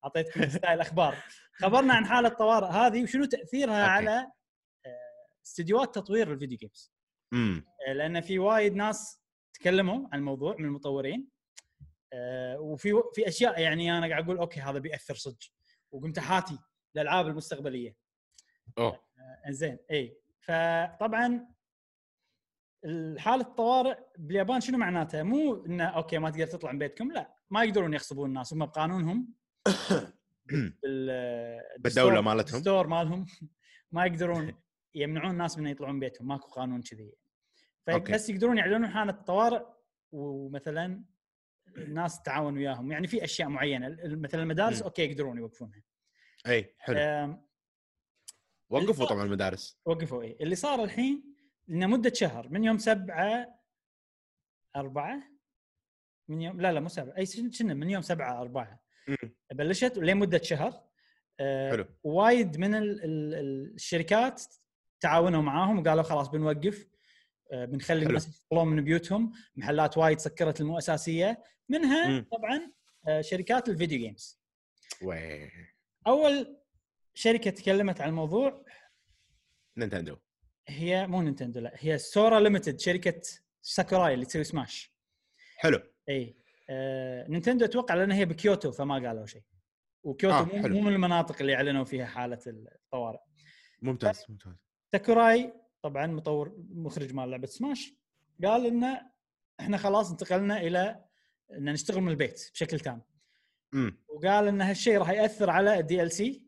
اعطيتكم
(laughs)
ستايل اخبار خبرنا عن حاله الطوارئ هذه وشنو تاثيرها
أوكي.
على آه، استديوهات تطوير الفيديو جيمز
مم.
آه، لان في وايد ناس تكلموا عن الموضوع من المطورين آه، وفي في اشياء يعني انا قاعد اقول اوكي هذا بياثر صدق وقمت حاتي الالعاب المستقبليه
اوه
انزين اي فطبعا حاله الطوارئ باليابان شنو معناتها؟ مو انه اوكي ما تقدر تطلع من بيتكم لا ما يقدرون يغصبون الناس هم
(coughs)
بقانونهم بال
بالدولة
بالستور-
مالتهم.
الستور مالهم (laughs) ما
(laughs)
يقدرون يمنعون الناس من يطلعون من بيتهم ماكو قانون كذي
أوكي.
فبس يقدرون يعلنون حاله الطوارئ ومثلا الناس تتعاون وياهم يعني في اشياء معينه مثلا المدارس
مم.
اوكي يقدرون يوقفونها
اي إيه، حلو
أم،
وقفوا طبعا المدارس
وقفوا اي اللي صار الحين انه مده شهر من يوم سبعة أربعة من يوم لا لا مو سبعة اي شن- شنو من يوم سبعة أربعة
مم.
بلشت ولين مده شهر آه،
حلو.
وايد من ال- ال- ال- الشركات تعاونوا معاهم وقالوا خلاص بنوقف آه، بنخلي
حلو.
الناس يشتغلون من بيوتهم محلات وايد سكرت المو اساسيه منها
مم.
طبعا آه، شركات الفيديو جيمز
وي
اول شركه تكلمت عن الموضوع
نينتندو
هي مو نينتندو لا هي سورا ليمتد شركه ساكوراي اللي تسوي سماش
حلو
اي آه، نينتندو اتوقع لان هي بكيوتو فما قالوا شيء وكيوتو
آه،
آه
حلو.
مو من المناطق اللي اعلنوا فيها حاله الطوارئ آه.
ممتاز ممتاز
ساكوراي طبعا مطور مخرج مال لعبه سماش قال انه احنا خلاص انتقلنا الى ان نشتغل من البيت بشكل تام
امم
وقال ان هالشيء راح ياثر على الدي ال سي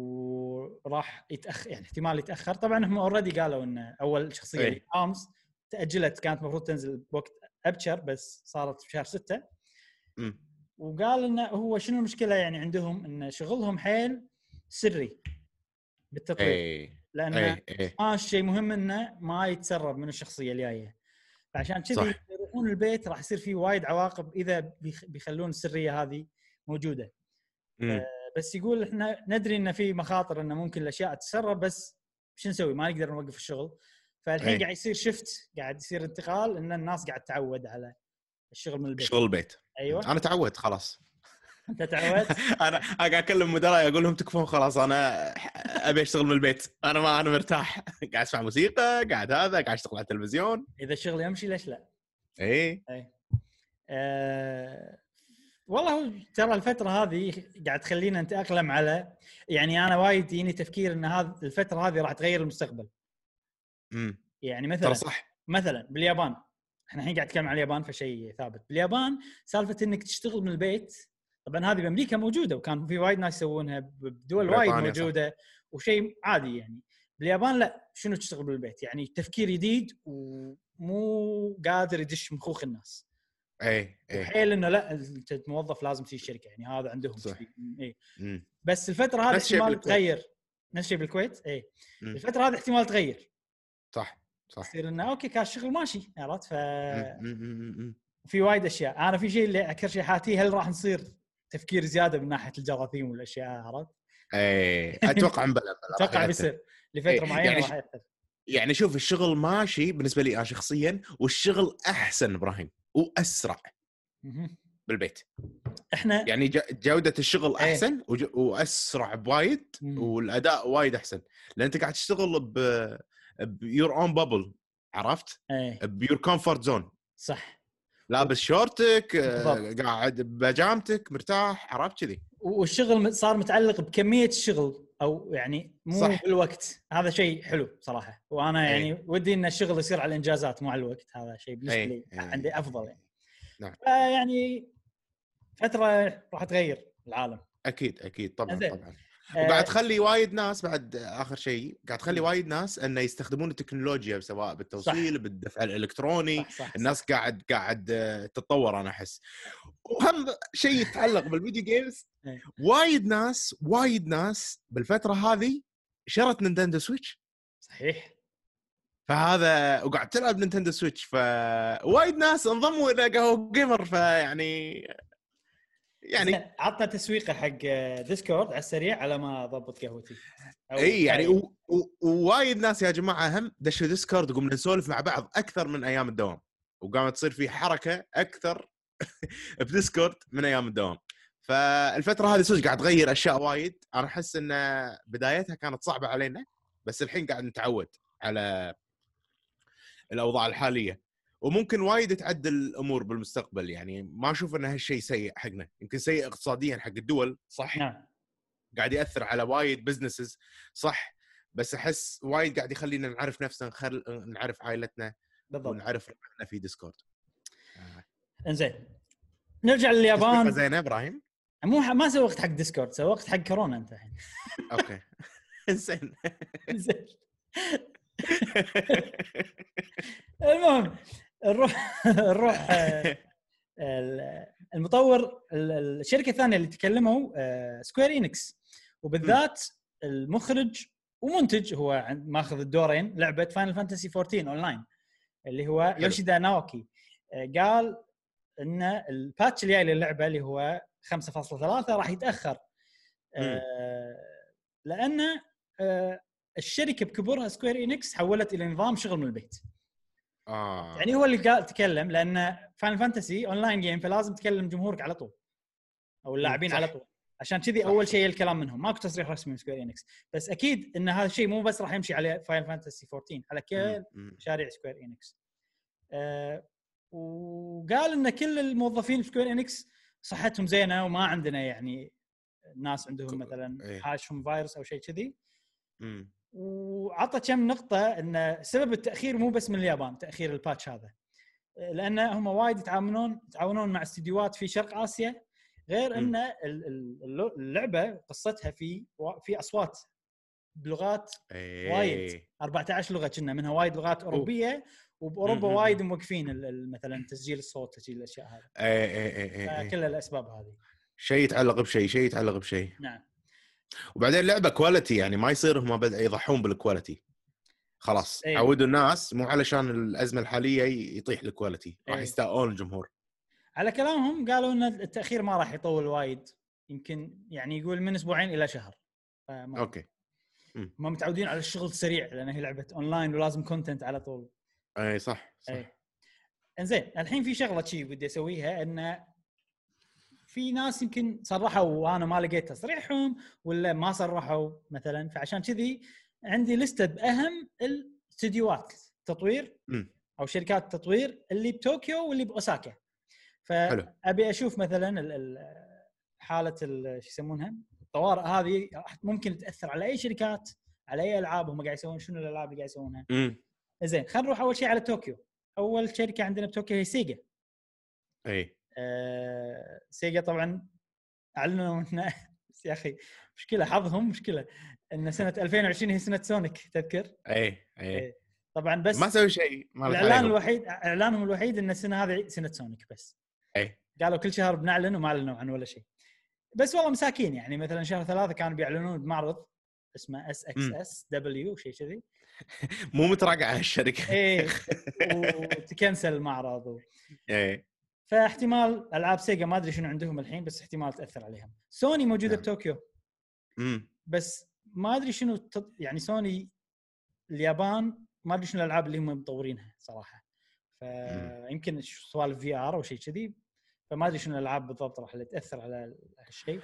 وراح يتاخر يعني احتمال يتاخر طبعا هم اوريدي قالوا ان اول شخصيه
إيه.
ارمز تاجلت كانت المفروض تنزل بوقت ابشر بس صارت في شهر ستة
امم
وقال انه هو شنو المشكله يعني عندهم ان شغلهم حيل سري بالتطوير
اي
لان
اي اي
ما شيء مهم انه ما يتسرب من الشخصيه الجايه فعشان كذي
صح.
يروحون البيت راح يصير في وايد عواقب اذا بيخ- بيخلون السريه هذه موجوده
مم.
بس يقول احنا ندري ان في مخاطر انه ممكن الاشياء تتسرب بس شو نسوي ما نقدر نوقف الشغل فالحين
أي.
قاعد يصير شفت قاعد يصير انتقال ان الناس قاعد تعود على الشغل من البيت
شغل البيت
ايوه
انا تعودت خلاص
انت تعودت
انا أيوة. (laughs) أنا قاعد اكلم مدراء اقول لهم تكفون خلاص انا ابي اشتغل من البيت انا ما انا مرتاح (laughs) قاعد اسمع موسيقى قاعد هذا قاعد اشتغل على التلفزيون
اذا الشغل يمشي ليش لا
اي
أه والله هو ترى الفتره هذه قاعد تخلينا نتاقلم على يعني انا وايد يجيني تفكير ان هذه الفتره هذه راح تغير المستقبل
أمم.
يعني
ترى
مثلا
صح
مثلا باليابان احنا الحين قاعد نتكلم عن اليابان فشيء ثابت باليابان سالفه انك تشتغل من البيت طبعا هذه بامريكا موجوده وكان في وايد ناس يسوونها ب- بدول وايد
بريطانيا صح.
موجوده وشيء عادي يعني باليابان لا شنو تشتغل من البيت يعني تفكير جديد ومو قادر يدش مخوخ الناس
اي اي
حيل انه لا انت موظف لازم تجي الشركه يعني هذا عندهم
صح.
اي
أمم.
بس الفتره هذه
نفس الشيء
احتمال
بالكويت.
تغير نفس الشيء بالكويت اي
مم.
الفتره هذه احتمال تغير
صح صح
يصير انه اوكي كان الشغل ماشي عرفت ف
أمم، أمم، أمم.
في وايد اشياء انا في شيء اللي اكثر شيء حاتيه هل راح نصير تفكير زياده من ناحيه الجراثيم والاشياء عرفت؟
اي (laughs) اتوقع مبلى مبلى.
اتوقع بيصير لفتره
إيه،
معينه
يعني
راح
ش-
ياثر
يعني شوف الشغل ماشي بالنسبه لي انا شخصيا والشغل احسن ابراهيم واسرع
مهم.
بالبيت
احنا
يعني ج- جوده الشغل
إيه.
احسن وج- واسرع بوايد
مم.
والاداء وايد احسن لان انت قاعد تشتغل ب بيور اون بابل عرفت؟
ايه
بيور كومفورت زون
صح
لابس شورتك آه،
بالضبط.
قاعد بجامتك مرتاح عرفت كذي
والشغل مت- صار متعلق بكميه الشغل او يعني مو
صح.
صح. بالوقت هذا شيء حلو صراحه وانا
إيه.
يعني ودي ان الشغل يصير على الانجازات مو على الوقت هذا شيء بالنسبه
إيه،
لي
إيه.
عندي افضل يعني
نعم.
فيعني فتره راح تغير العالم
اكيد اكيد طبعا
زين.
طبعا
آه،
وقاعد تخلي وايد ناس بعد اخر شيء قاعد تخلي
مم.
وايد ناس انه يستخدمون التكنولوجيا سواء بالتوصيل بالدفع الالكتروني
صح صح
الناس قاعد قاعد آه، تتطور انا احس وهم شيء يتعلق بالفيديو جيمز
إيه.
وايد ناس وايد ناس بالفتره هذه شرت نينتندو سويتش
صحيح
فهذا وقاعد تلعب نينتندو سويتش فوايد ناس انضموا الى قهوه جيمر فيعني يعني
يعني (laughs) عطنا تسويقه حق ديسكورد على السريع على ما اضبط قهوتي أو
اي يعني
شاي.
و- و- ووايد ناس يا جماعه هم دشوا ديسكورد وقمنا نسولف مع بعض اكثر من ايام الدوام وقامت تصير في حركه اكثر (laughs) بديسكورد من ايام الدوام فالفتره هذه صدق قاعد تغير اشياء وايد انا احس ان بدايتها كانت صعبه علينا بس الحين قاعد نتعود على الاوضاع الحاليه وممكن وايد تعدل الامور بالمستقبل يعني ما اشوف ان هالشيء سيء حقنا يمكن سيء اقتصاديا حق الدول صح
نعم
قاعد ياثر على وايد بزنسز صح بس احس وايد قاعد يخلينا نعرف نفسنا نخل... نعرف عائلتنا
بالضبط
ونعرف ربعنا في ديسكورد آه.
انزين نرجع
تصريفة
لليابان
زينه ابراهيم
مو ح- ما سوقت حق ديسكورد سوقت حق كورونا انت الحين (laughs)
(laughs) اوكي زين
زين المهم نروح (laughs) نروح
(laughs)
آه، ال- المطور ال- ال- الشركه الثانيه اللي تكلموا سكوير انكس وبالذات المخرج ومنتج هو عن- ماخذ الدورين لعبه فاينل فانتسي 14 اونلاين اللي هو يوشيدا ناوكي آه، قال ان الباتش الجاي للعبه اللي هو 5.3 راح يتاخر آه، لان آه، الشركه بكبرها سكوير انكس حولت الى نظام شغل من البيت
اه
يعني هو اللي قال تكلم لان فاين فانتسي اونلاين جيم فلازم تكلم جمهورك على طول او اللاعبين
صح.
على طول عشان كذي
صح.
اول شيء الكلام منهم ماكو تصريح رسمي من سكوير انكس بس اكيد ان هذا الشيء مو بس راح يمشي على فاين فانتسي 14 على كل
مم، مم.
مشاريع سكوير انكس آه وقال ان كل الموظفين سكوير انكس صحتهم زينه وما عندنا يعني ناس عندهم
ك-
مثلا
إيه.
حاشهم فايروس او شيء كذي
مم.
وعطى كم نقطه ان سبب التاخير مو بس من اليابان تاخير الباتش هذا لان هم وايد يتعاونون يتعاونون مع استديوهات في شرق اسيا غير ان ال- ال- اللعبه قصتها في في اصوات بلغات
إيه.
وايد 14 لغه كنا منها وايد لغات اوروبيه وباوروبا
مم.
وايد موقفين ال- ال- مثلا تسجيل الصوت تسجيل الاشياء هذه
إيه، إيه، إيه، إيه، إيه.
فكل الاسباب هذه
شيء يتعلق بشيء شيء يتعلق بشيء
نعم
وبعدين لعبه كواليتي يعني ما يصير هم بدا يضحون بالكواليتي خلاص
إيه.
عودوا الناس مو علشان الازمه الحاليه ي- يطيح الكواليتي راح
إيه.
يستاءون الجمهور
على كلامهم قالوا ان التاخير ما راح يطول وايد يمكن يعني يقول من اسبوعين الى شهر فما-
اوكي
ما متعودين على الشغل السريع لان هي لعبه اونلاين ولازم كونتنت على طول
اي صح صح
اي انزين الحين في شغله شي بدي اسويها ان في ناس يمكن صرحوا وانا ما لقيت تصريحهم ولا ما صرحوا مثلا فعشان كذي عندي لسته باهم الاستديوهات تطوير
مم.
او شركات التطوير اللي بطوكيو واللي باوساكا
حلو.
فابي اشوف مثلا ال- ال- حاله ال- شو يسمونها الطوارئ هذه راح ممكن تاثر على اي شركات على اي العاب هم قاعد يسوون شنو الالعاب اللي قاعد يسوونها
امم
زين خلينا نروح اول شيء على طوكيو اول شركه عندنا بطوكيو هي سيجا
اي
آه سيجا طبعا اعلنوا ان بس (laughs) يا اخي مشكله حظهم مشكله ان سنه 2020 هي سنه سونيك تذكر
اي اي
إيه. طبعا بس
ما سوي شيء ما لك
الاعلان
عليهم.
الوحيد اعلانهم الوحيد ان السنه هذه سنه سونيك بس
اي
قالوا كل شهر بنعلن وما اعلنوا عن ولا شيء بس والله مساكين يعني مثلا شهر ثلاثه كانوا بيعلنون بمعرض اسمه اس اكس
مم.
اس دبليو شيء
(laughs)
كذي
مو متراجعه (laughs) هالشركه
ايه وتكنسل المعرض و...
اي
فاحتمال العاب سيجا ما ادري شنو عندهم الحين بس احتمال تاثر عليهم سوني موجوده
نعم.
بطوكيو
امم
بس ما ادري شنو تط... يعني سوني اليابان ما ادري شنو الالعاب اللي هم مطورينها صراحه فيمكن سوالف في ار او شيء كذي فما ادري شنو الالعاب بالضبط راح اللي تاثر على هالشيء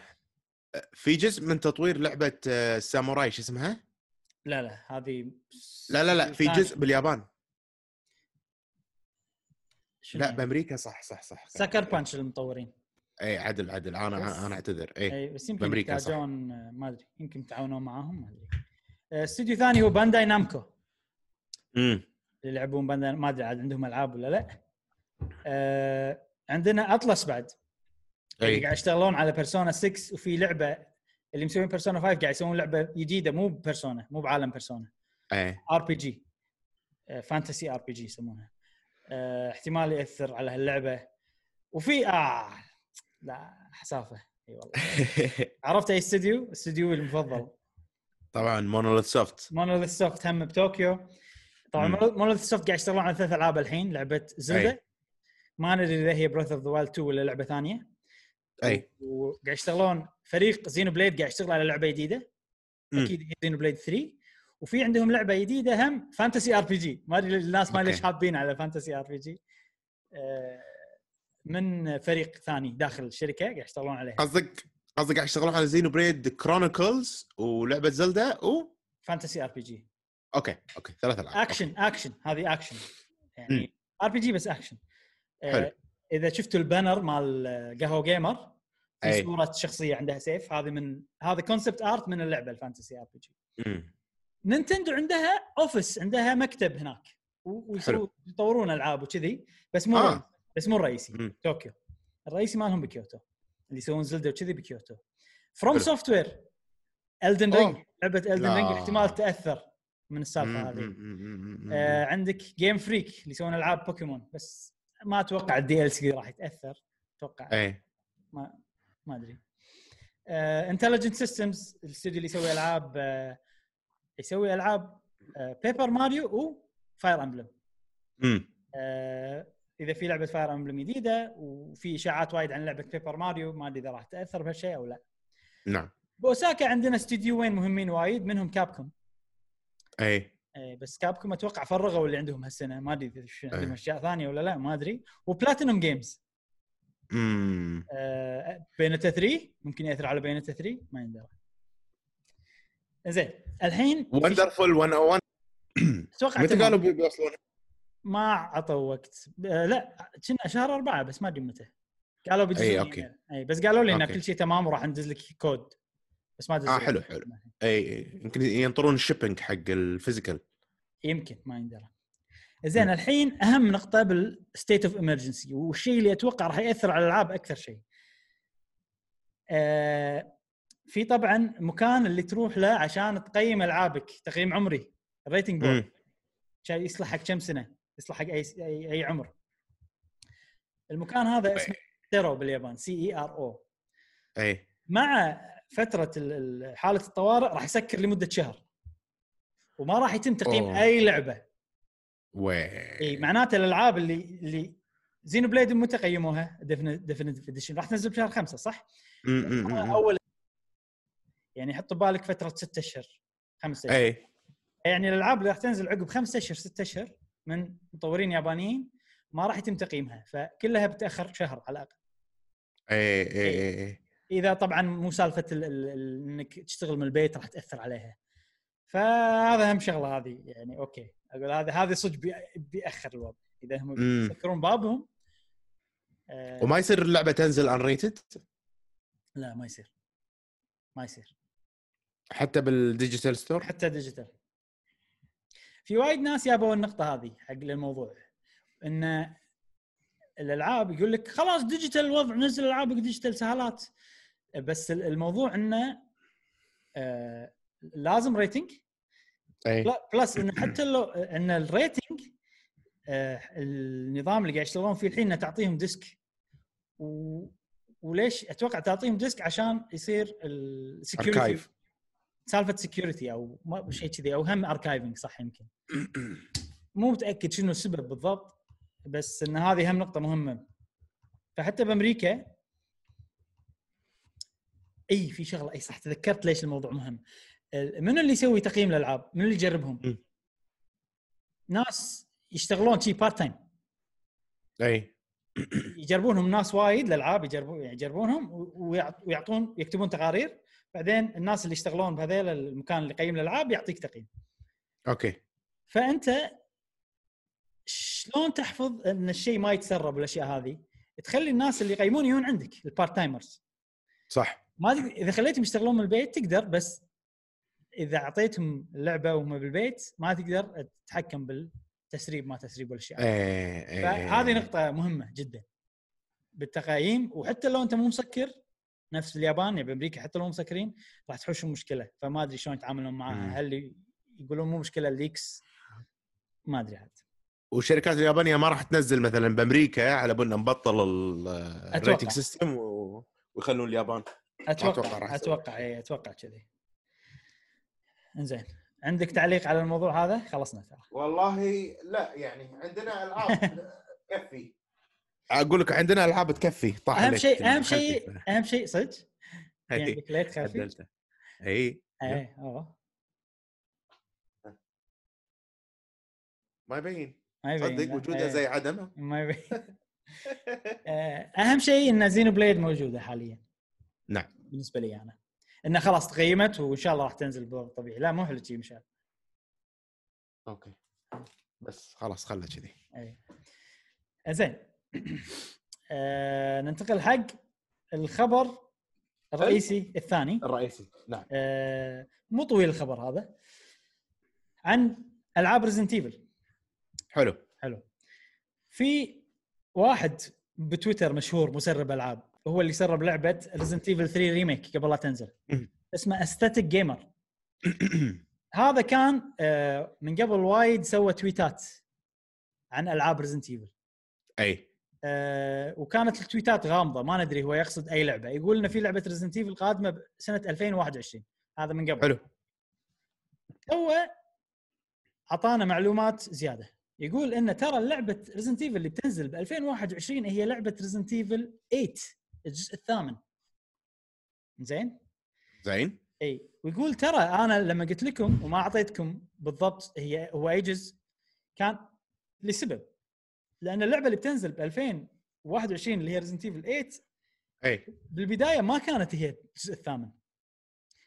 في جزء من تطوير لعبه آه، ساموراي شو اسمها؟
لا لا هذه
لا لا لا في
ثانية.
جزء باليابان
شنو
لا
هي؟
بامريكا صح صح صح, صح.
سكر بانش المطورين
اي عدل عدل
بس.
انا انا اعتذر اي
اي إيه، بس يمكن
إيه، بأمريكا، صح.
يحتاجون آه، ما ادري يمكن يتعاونون معاهم ما ادري آه، استوديو ثاني هو بانداي نامكو
امم
اللي يلعبون بندر ما ادري عاد عندهم العاب ولا لا آه عندنا اطلس بعد اللي
اي
قاعد يشتغلون على بيرسونا 6 وفي لعبه اللي مسوين بيرسونا 5 قاعد يسوون لعبه جديده مو ببيرسونا مو بعالم بيرسونا
(laughs) اي
ار بي جي فانتسي ار بي جي يسمونها آه احتمال ياثر على هاللعبه وفي اه لا حسافه اي والله عرفت اي استوديو؟ استوديوي المفضل
طبعا مونوليث سوفت
مونوليث سوفت هم بطوكيو طبعا
مم.
مونوليث سوفت قاعد يشتغلون على ثلاث العاب الحين لعبه زلدا
أي.
ما ندري اذا هي بروث اوف ذا وايلد 2 ولا لعبه ثانيه
اي
وقاعد يشتغلون فريق زينو بليد قاعد يشتغل على لعبه جديده
مم.
اكيد هي زينو بليد 3 وفي عندهم لعبه جديده هم فانتسي ار بي جي ما ادري الناس ما
أوكي.
ليش حابين على فانتسي ار بي جي آه، من فريق ثاني داخل الشركه قاعد يشتغلون عليها
قصدك قصدك قاعد يشتغلون على زينو بريد كرونيكلز ولعبه زلدا و
فانتسي ار بي جي
اوكي اوكي ثلاث العاب
اكشن اكشن هذه اكشن يعني ار بي جي بس اكشن آه،
حلو.
اذا شفتوا البانر مال قهوه جيمر في
أي.
صوره شخصيه عندها سيف هذه من هذا كونسبت ارت من اللعبه الفانتسي ار بي جي
مم.
نينتندو عندها اوفيس عندها مكتب هناك و- ويسوون
حلو.
يطورون العاب وكذي بس مو
آه.
رئيسي- بس مو الرئيسي
مم.
طوكيو الرئيسي مالهم بكيوتو اللي يسوون زلده وكذي بكيوتو فروم
حلو.
سوفت وير الدن
أوه.
رينج لعبه الدن
لا.
رينج احتمال تاثر من السالفه
مم.
هذه
مم. مم. مم.
آه عندك جيم فريك اللي يسوون العاب بوكيمون بس ما اتوقع الدي ال سي راح يتاثر اتوقع
اي
ما ما آه، ادري انتليجنت سيستمز الاستوديو اللي يسوي العاب آه، يسوي آه، العاب بيبر ماريو وفاير امبلم
مم.
اذا آه، في لعبه فاير امبلم جديده وفي اشاعات وايد عن لعبه بيبر ماريو ما ادري اذا راح تاثر بهالشيء او لا
نعم
باوساكا عندنا استديوين مهمين وايد منهم كابكم
اي
آه، بس كابكم اتوقع فرغوا اللي عندهم هالسنه ما ادري اذا شو عندهم
أي.
اشياء ثانيه ولا لا ما ادري وبلاتينوم جيمز
مم.
آه، بينتا 3 ممكن ياثر على بينتا 3 ما يندرى زين الحين في
وندرفول 101
ش- اتوقع
متى
تمام.
قالوا بي- بيوصلون؟
ما عطوا وقت آه، لا كنا شهر أربعة بس ما ادري متى قالوا بيدزون
أي،
لي
أوكي.
إيميل. اي بس قالوا لي ان
أوكي.
كل شيء تمام وراح ندز لك كود بس ما دزوا
آه،
لي.
حلو، حلو. اي إي. يمكن ينطرون الشيبنج حق الفيزيكال
يمكن ما يندرى زين
مم.
الحين اهم نقطه بالستيت اوف امرجنسي والشيء اللي اتوقع راح ياثر على الالعاب اكثر شيء. آه في طبعا مكان اللي تروح له عشان تقيم العابك تقييم عمري الريتنج بورد
مم.
عشان يصلح حق كم سنه يصلح حق اي اي, أي عمر. المكان هذا اسمه سيرو باليابان سي اي ار او
اي
مع فتره ال- ال- حاله الطوارئ راح يسكر لمده شهر وما راح يتم تقييم
أوه.
اي لعبه اي
وي
إيه، معناته الالعاب اللي اللي زينو بليد متى قيموها ديفنتيف اديشن راح تنزل بشهر خمسة صح؟
مم. مم. مم.
اول يعني حط ببالك فتره ستة اشهر خمسة اشهر
اي
يعني الالعاب اللي راح تنزل عقب خمسة اشهر ستة اشهر من مطورين يابانيين ما راح يتم تقييمها فكلها بتاخر شهر على الاقل
اي اي اي اي
اذا طبعا مو سالفه ال- ال- ال- انك تشتغل من البيت راح تاثر عليها فهذا اهم شغله هذه يعني اوكي اقول هذا هذا صدق بي- بياخر الوضع اذا هم
مم.
يسكرون بابهم آه،
وما يصير اللعبه تنزل انريتد
لا ما يصير ما يصير
حتى بالديجيتال ستور
حتى ديجيتال في وايد ناس يابوا النقطه هذه حق الموضوع ان الالعاب يقول لك خلاص ديجيتال الوضع نزل العابك ديجيتال سهالات بس ال- الموضوع انه آه لازم ريتنج
اي
بلا- بلس ان حتى لو ان الريتنج آه، النظام اللي قاعد يشتغلون فيه الحين انه تعطيهم ديسك و... وليش اتوقع تعطيهم ديسك عشان يصير السكيورتي
Archive.
سالفه سكيورتي او ما- شيء كذي او هم اركايفنج صح يمكن مو متاكد شنو السبب بالضبط بس ان هذه هم نقطه مهمه فحتى بامريكا اي في شغله اي صح تذكرت ليش الموضوع مهم ال- منو اللي يسوي تقييم الالعاب؟ منو اللي يجربهم؟
مم.
ناس يشتغلون شي بارت تايم
اي
يجربونهم ناس وايد الالعاب يجربون يعني يجربونهم و- ويعط- ويعطون يكتبون تقارير بعدين الناس اللي يشتغلون بهذيل المكان اللي يقيم الالعاب يعطيك تقييم
اوكي
فانت شلون تحفظ ان الشيء ما يتسرب والاشياء هذه؟ تخلي الناس اللي يقيمون يجون عندك البارت تايمرز
صح
ما تقدر اذا خليتهم يشتغلون من البيت تقدر بس اذا اعطيتهم اللعبه وهم بالبيت ما تقدر تتحكم بالتسريب ما تسريب والاشياء هذه.
اي اي
فهذه نقطه مهمه جدا بالتقايم وحتى لو انت مو مسكر نفس اليابان يعني بامريكا حتى لو مسكرين راح تحوشهم مشكله فما ادري شلون يتعاملون
مم.
معها هل يقولون مو مشكله الليكس ما ادري عاد
والشركات اليابانيه ما راح تنزل مثلا بامريكا على بنا نبطل ال- الريتنج سيستم و- ويخلون اليابان أتوقع
اتوقع
راح يصير.
اتوقع اي اتوقع إيه، كذي انزين عندك تعليق على الموضوع هذا خلصنا ترى
والله لا يعني عندنا العاب (laughs) تكفي اقول لك عندنا العاب تكفي طاح
اهم
عليك إيه،
شيء اهم
دخلت
شيء
فيها.
اهم شيء صدق (laughs) يعني
اي
ليت خفي إيه،
عدلته. اي
اي اوه
ما يبين
ما يبين،
تصدق
لا.
وجوده
إيه،
زي عدمه
ما يبين آه، اهم شيء ان زينو بليد موجوده حاليا
نعم.
بالنسبه لي انا انه خلاص تقيمت وان شاء الله راح تنزل بوضع طبيعي لا مو حلو شيء ان شاء الله
اوكي بس خلاص خلها كذي
إيه. زين (clears throat) آه، ننتقل حق الخبر الرئيسي الثاني
الرئيسي نعم
آه، مو طويل الخبر هذا عن العاب ريزنت ايفل
حلو (clears throat)
حلو في واحد بتويتر مشهور مسرب العاب هو اللي سرب لعبه ريزنت ايفل 3 ريميك قبل لا تنزل
مم.
اسمه استاتيك جيمر هذا كان آه، من قبل وايد سوى تويتات عن العاب ريزنت ايفل
اي
آه، وكانت التويتات غامضه ما ندري هو يقصد اي لعبه يقول انه في لعبه ريزنت ايفل قادمه سنه 2021 هذا من قبل
حلو
هو اعطانا معلومات زياده يقول ان ترى لعبه ريزنت ايفل اللي بتنزل ب 2021 هي لعبه ريزنت ايفل 8 الجزء الثامن زين
زين
اي ويقول ترى انا لما قلت لكم وما اعطيتكم بالضبط هي هو اي جزء كان لسبب لان اللعبه اللي بتنزل ب 2021 اللي هي ريزنت ايفل 8
اي
بالبدايه ما كانت هي الجزء الثامن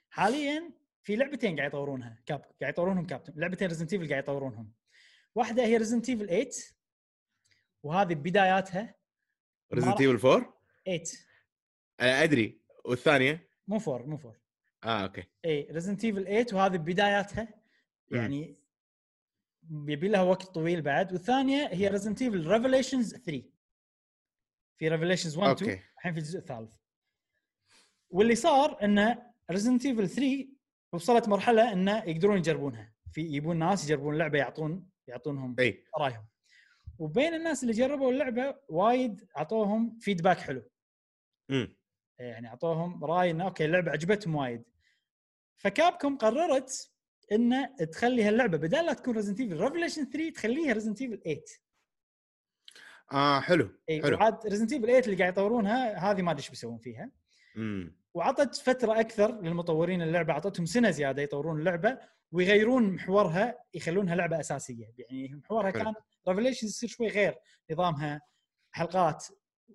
حاليا في لعبتين قاعد يطورونها كاب قاعد يطورونهم كابتن لعبتين ريزنت ايفل قاعد يطورونهم واحده هي ريزنت ايفل 8 وهذه بداياتها
ريزنت
راح-
ايفل 4
8
انا ادري والثانيه
مو فور مو إيه، فور
اه اوكي
اي ريزنت ايفل 8 وهذه بداياتها
مم.
يعني يبي لها وقت طويل بعد والثانيه هي ريزنت ايفل ريفليشنز 3 في ريفليشنز 1 2
أوكي.
الحين في الجزء الثالث واللي صار انه ريزنت ايفل 3 وصلت مرحله انه يقدرون يجربونها في يجيبون ناس يجربون لعبه يعطون يعطونهم
اي
رايهم وبين الناس اللي جربوا اللعبه وايد اعطوهم فيدباك حلو
امم
يعني اعطوهم راي انه اوكي اللعبه عجبتهم وايد فكابكم قررت انه تخلي هاللعبه بدل لا تكون ريزنت ايفل ريفليشن 3 تخليها ريزنت ايفل 8
اه حلو
اي
حلو.
إيه، وعاد ريزنت ايفل 8 اللي قاعد يطورونها هذه ما ادري ايش بيسوون فيها
امم
وعطت فتره اكثر للمطورين اللعبه اعطتهم سنه زياده يطورون اللعبه ويغيرون محورها يخلونها لعبه اساسيه يعني محورها
حلو.
كان ريفليشن يصير شوي غير نظامها حلقات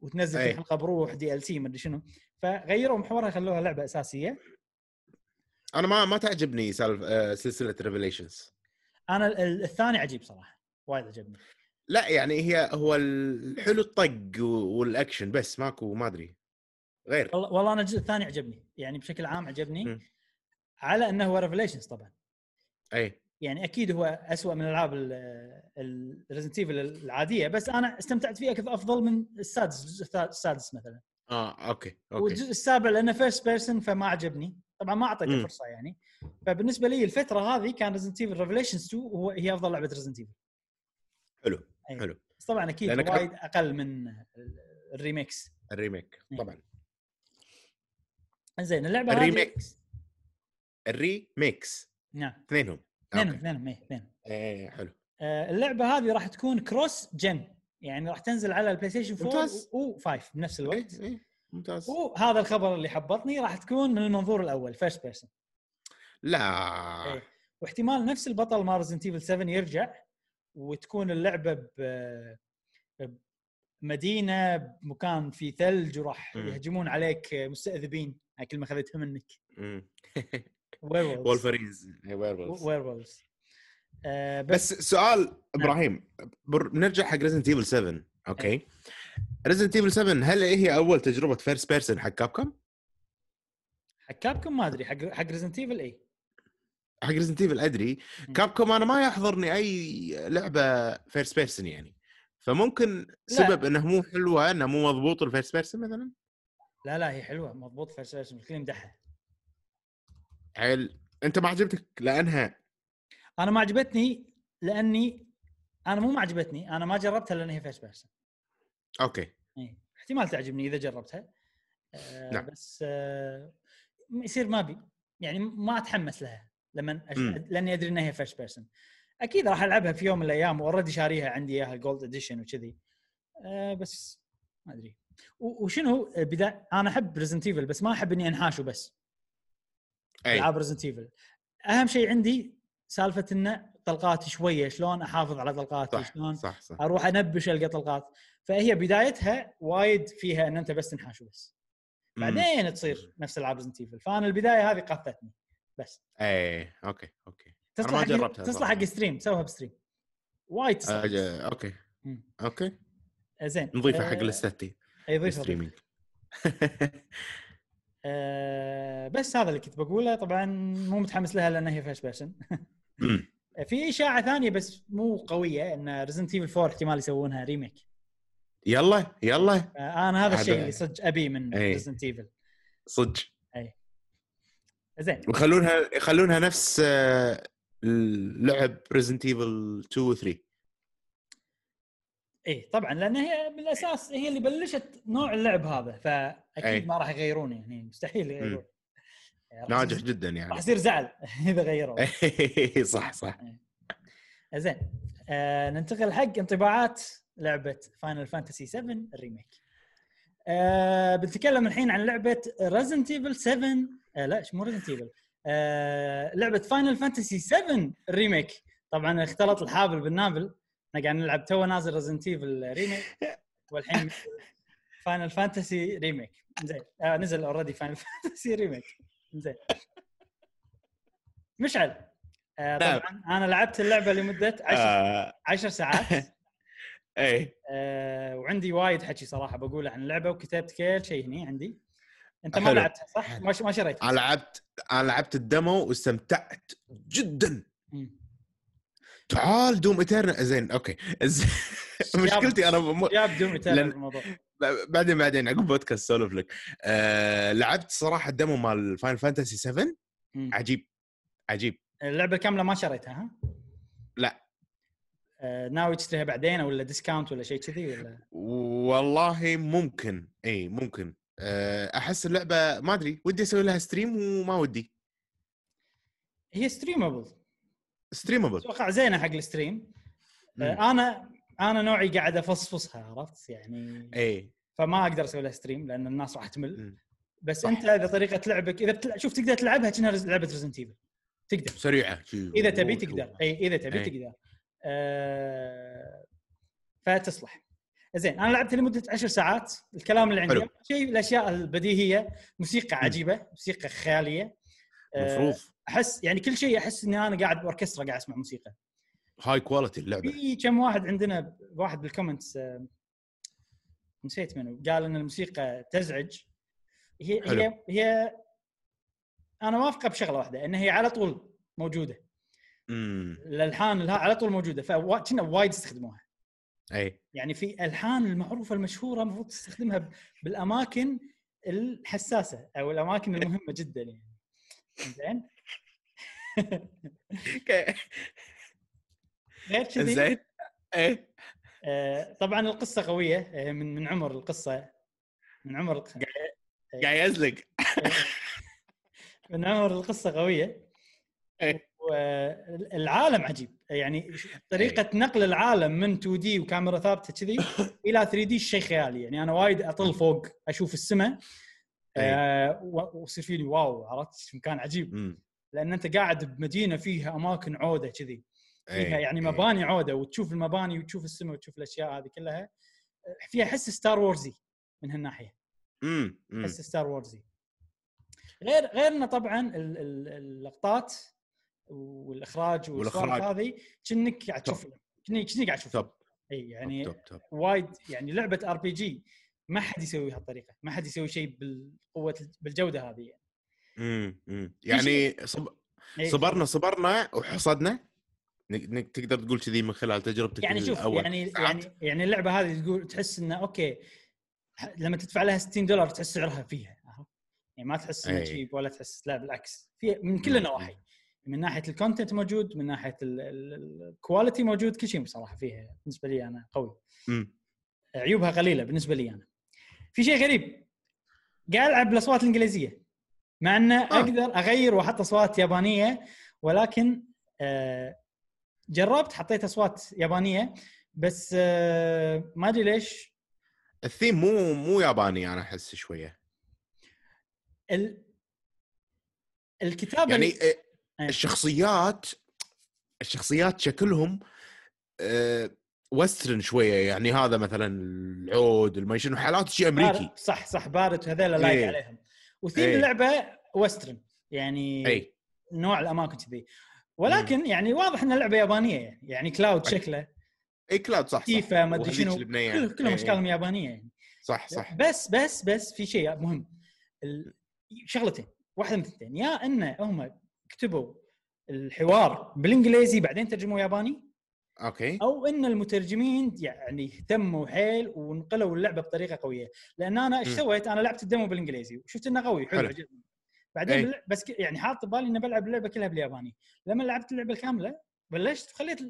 وتنزل
أي.
كل حلقه بروح دي ال سي مدري شنو فغيروا محورها خلوها لعبه اساسيه
انا ما ما تعجبني سالف آه، سلسله ريفليشنز
انا ال- ال- الثاني عجيب صراحه وايد عجبني
لا يعني هي هو الحلو الطق و- والاكشن بس ماكو ما ادري غير
والله والله انا الجزء الثاني عجبني يعني بشكل عام عجبني
مم.
على انه هو ريفليشنز طبعا
اي
يعني اكيد هو أسوأ من العاب الريزنت ايفل العاديه بس انا استمتعت فيه أكثر افضل من السادس الجزء الثا- السادس مثلا
اه اوكي اوكي
والجزء السابع لانه فيرست بيرسون فما عجبني طبعا ما اعطيته
مم.
فرصه يعني فبالنسبه لي الفتره هذه كان ريزنت ايفل ريفليشنز 2 وهو هي افضل لعبه ريزنت ايفل
حلو
أي.
حلو
إيه. بس طبعا اكيد
لأنك-
وايد اقل من ال- الريميكس
الريميك
أي.
طبعا
زين اللعبه هذه-
الريميكس. الريميكس
نعم
اثنينهم
اثنينهم
آه، أوكي.
اثنينهم إيه، اثنينهم
ايه حلو
آه، اللعبه هذه راح تكون كروس جن يعني راح تنزل على البلاي ستيشن 4
ممتاز.
و5 بنفس
إيه،
الوقت
إيه، ممتاز
وهذا الخبر اللي حبطني راح تكون من المنظور الاول فيرست بيرسون
لا
إيه. واحتمال نفس البطل مال ريزنت ايفل 7 يرجع وتكون اللعبه ب مدينه بمكان في ثلج وراح
مم.
يهجمون عليك مستاذبين هاي كلمه اخذتها
(laughs)
منك
مم.
وير
وولفرينز إيه، ويرولفز.
وولفز آه بس
بس سؤال ابراهيم بر- بنرجع حق ريزنت ايفل 7
إيه.
اوكي ريزنت ايفل 7 هل هي اول تجربه فيرست بيرسون حق كابكم؟
حق كابكم ما ادري حق إيه؟ حق ريزنت ايفل اي
حق ريزنت ايفل ادري
مم.
كابكوم انا ما يحضرني اي لعبه فيرست بيرسون يعني فممكن سبب انه مو حلوه انه مو مضبوط الفيرست بيرسون مثلا
لا لا هي حلوه مضبوط فيرست بيرسون الكل يمدحها
حيل انت ما عجبتك لانها
انا ما عجبتني لاني انا مو ما عجبتني انا ما جربتها لان هي فيرست بيرسون
اوكي
إيه. احتمال تعجبني اذا جربتها آه
نعم.
بس آه م- يصير ما بي يعني م- ما اتحمس لها لما أش...
مم.
لاني ادري انها هي فيرست بيرسون اكيد راح العبها في يوم من الايام واوريدي شاريها عندي اياها جولد اديشن وكذي آه بس ما ادري و- وشنو آه، بدا انا احب ريزنت ايفل بس ما احب اني انحاشه بس
اي
العاب ريزنت ايفل اهم شيء عندي سالفه انه طلقاتي شويه شلون احافظ على طلقاتي
صح
شلون
صح صح
اروح انبش القى طلقات فهي بدايتها وايد فيها ان انت بس تنحاش بس بعدين تصير نفس العاب ريزنت ايفل فانا البدايه هذه قفلتني بس
اي اوكي اوكي أنا
تصلح
ما
حق
جربتها
تصلح
صراحة.
حق ستريم سوها بستريم وايد تصلح
أج- اوكي
مم.
اوكي
زين
نضيفه
آه،
حق لستي
أي ضيفة.
ستريمينج
آه، بس هذا اللي كنت بقوله طبعا مو متحمس لها لان هي فلاش باشن في اشاعه ثانيه بس مو قويه ان ريزنت ايفل 4 احتمال يسوونها ريميك
(laughs) يلا يلا
آه، انا هذا
عاد-
الشيء اللي صدق ابي من
إي.
ريزنت ايفل
صدق
زين
ويخلونها يخلونها نفس آه، اللعب ريزنت ايفل 2 و 3
اي طبعا لان إيه، هي بالاساس هي اللي بلشت نوع اللعب هذا فاكيد
إي.
ما راح يغيرون يعني مستحيل يغيرون راح
ناجح إيه.
يصير-
جدا
راح
يعني
يصير زعل (laughs) اذا غيروا
آه. صح صح
زين آه ننتقل حق انطباعات لعبه فاينل فانتسي 7 الريميك آه بنتكلم الحين عن لعبه ريزنت ايفل 7 آه لا مو ريزنت ايفل آه لعبه فاينل فانتسي 7 الريميك طبعا اختلط الحابل بالنابل احنا قاعد نلعب تو نازل ريزنت ايفل ريميك
(laughs)
والحين فاينل فانتسي ريميك زين آه نزل اوريدي (laughs) فاينل فانتسي ريميك زين مشعل آه
نعم.
طبعا انا لعبت اللعبه لمده 10
آه، إيه.
10 ساعات
(laughs) اي
آه وعندي وايد حكي صراحه بقوله عن اللعبه وكتبت كل شيء هني عندي انت ما
حلو.
لعبتها صح؟ ما ش- ما شريتها
انا لعبت انا لعبت الدمو واستمتعت جدا
مم.
تعال دوم اترنال زين اوكي (laughs) زين. (laughs) مشكلتي انا م...
يا بدون
لأن-
الموضوع
بعدين بعدين عقب بودكاست سولف لك آه لعبت صراحه الدمو مال فاين فانتسي 7
مم.
عجيب عجيب
اللعبه كامله ما شريتها ها؟
لا.
آه ناوي تشتريها بعدين ولا ديسكاونت ولا شيء كذي ولا
والله ممكن اي ممكن آه احس اللعبه ما ادري ودي اسوي لها ستريم وما ودي
هي ستريمبل
ستريمبل
اتوقع زينه حق الستريم آه انا انا نوعي قاعد افصفصها عرفت يعني
اي
فما اقدر اسوي لها ستريم لان الناس راح تمل
مم.
بس
صح.
انت اذا طريقه لعبك اذا بتلع... شوف تقدر تلعبها كأنها رز- لعبه ريزنت ايفل تقدر
سريعه
اذا تبي تقدر اي اذا تبي
إي.
تقدر آه... فتصلح زين انا لعبت لمده 10 ساعات الكلام اللي عندي
حلو.
أول شيء الاشياء البديهيه موسيقى
مم.
عجيبه موسيقى خياليه آه،
المفروض
احس يعني كل شيء احس اني انا قاعد باوركسترا قاعد اسمع موسيقى
هاي
(laughs)
كواليتي اللعبه
في كم واحد عندنا ب- واحد بالكومنتس آه، نسيت منه قال ان الموسيقى تزعج هي
حلو.
هي هي انا موافقه بشغله واحده ان هي على طول موجوده إمم.
امم
الالحان لها على طول موجوده فكنا وايد استخدموها
اي
يعني في الحان المعروفه المشهوره المفروض تستخدمها ب- بالاماكن الحساسه او الاماكن المهمه جدا يعني زين غير (laughs) كذي إيه.
زين اي
آه، طبعا القصه قويه آه، من من عمر القصه من عمر الق-
قاعد يزلق
من عمر القصه قويه
إيه.
والعالم عجيب يعني ش- طريقه نقل العالم من 2 دي وكاميرا ثابته كذي الى 3 دي شيء خيالي يعني انا وايد اطل فوق اشوف السماء
إيه.
آه، و- ويصير فيني واو عرفت مكان عجيب
أمم.
لان انت قاعد بمدينه فيها اماكن عوده كذي
إي.
فيها يعني
إي.
مباني عوده وتشوف المباني وتشوف السماء وتشوف الاشياء هذه كلها آه، فيها حس ستار وورزي من هالناحيه
أمم. أمم.
حس ستار وورزي غير غير انه طبعا ال- ال- اللقطات والاخراج والسوالف
والإخراج.
هذه كأنك قاعد تشوف كني كني قاعد اشوف
توب.
اي يعني
توب توب
وايد يعني لعبه ار بي جي ما حد يسوي هالطريقه ما حد يسوي شيء بالقوه بالجوده هذه يعني
أمم. أمم. يعني صب...
إمم. إيه.
صبرنا صبرنا وحصدنا نك- نك- تقدر تقول كذي من خلال تجربتك
يعني شوف
الأول.
يعني
ساعات.
يعني يعني اللعبه هذه تقول تحس انه اوكي ح- لما تدفع لها 60 دولار تحس سعرها فيها عرفت؟ يعني ما تحس انه
أي.
تشيب ولا تحس لا بالعكس في من كل
مم.
النواحي من ناحيه الكونتنت موجود من ناحيه ال- ال- الكواليتي موجود كل شيء بصراحه فيها بالنسبه لي انا قوي
أمم.
عيوبها قليله بالنسبه لي انا في شيء غريب قاعد العب بالاصوات الانجليزيه مع انه
آه.
اقدر اغير واحط اصوات يابانيه ولكن آه، جربت حطيت اصوات يابانيه بس آه، ما ادري ليش
الثيم مو مو ياباني انا احس شويه
ال... الكتابه
يعني
اللي-
إيه، الشخصيات الشخصيات شكلهم آه، وسترن شويه يعني هذا مثلا العود المي شنو حالات شيء امريكي
بارد- صح صح بارد هذول لايق
إيه.
عليهم وثيم
إيه.
اللعبه وسترن يعني
اي
نوع الاماكن كذي ولكن يعني واضح انها لعبه يابانيه يعني يعني كلاود
أكيد.
شكله
اي كلاود إيه، صح صح
تيفا ما ادري
وهذيك
شنو
اللبنانية.
كل- كلهم
إي،
اشكالهم يابانيه يعني
صح يعني. إيه، صح
بس بس بس في شيء مهم ال- شغلتين واحده من الثنتين يا ان هم كتبوا الحوار بالانجليزي بعدين ترجموه ياباني
اوكي
او ان المترجمين يعني اهتموا حيل ونقلوا اللعبه بطريقه قويه لان انا ايش
مم.
سويت؟ انا لعبت الدمو بالانجليزي وشفت انه قوي حلو
حلو. إيه.
عجبني بعدين
أي.
بال- بس ك- يعني حاط ببالي اني بلعب اللعبه كلها بالياباني لما لعبت اللعبه الكامله بلشت خليت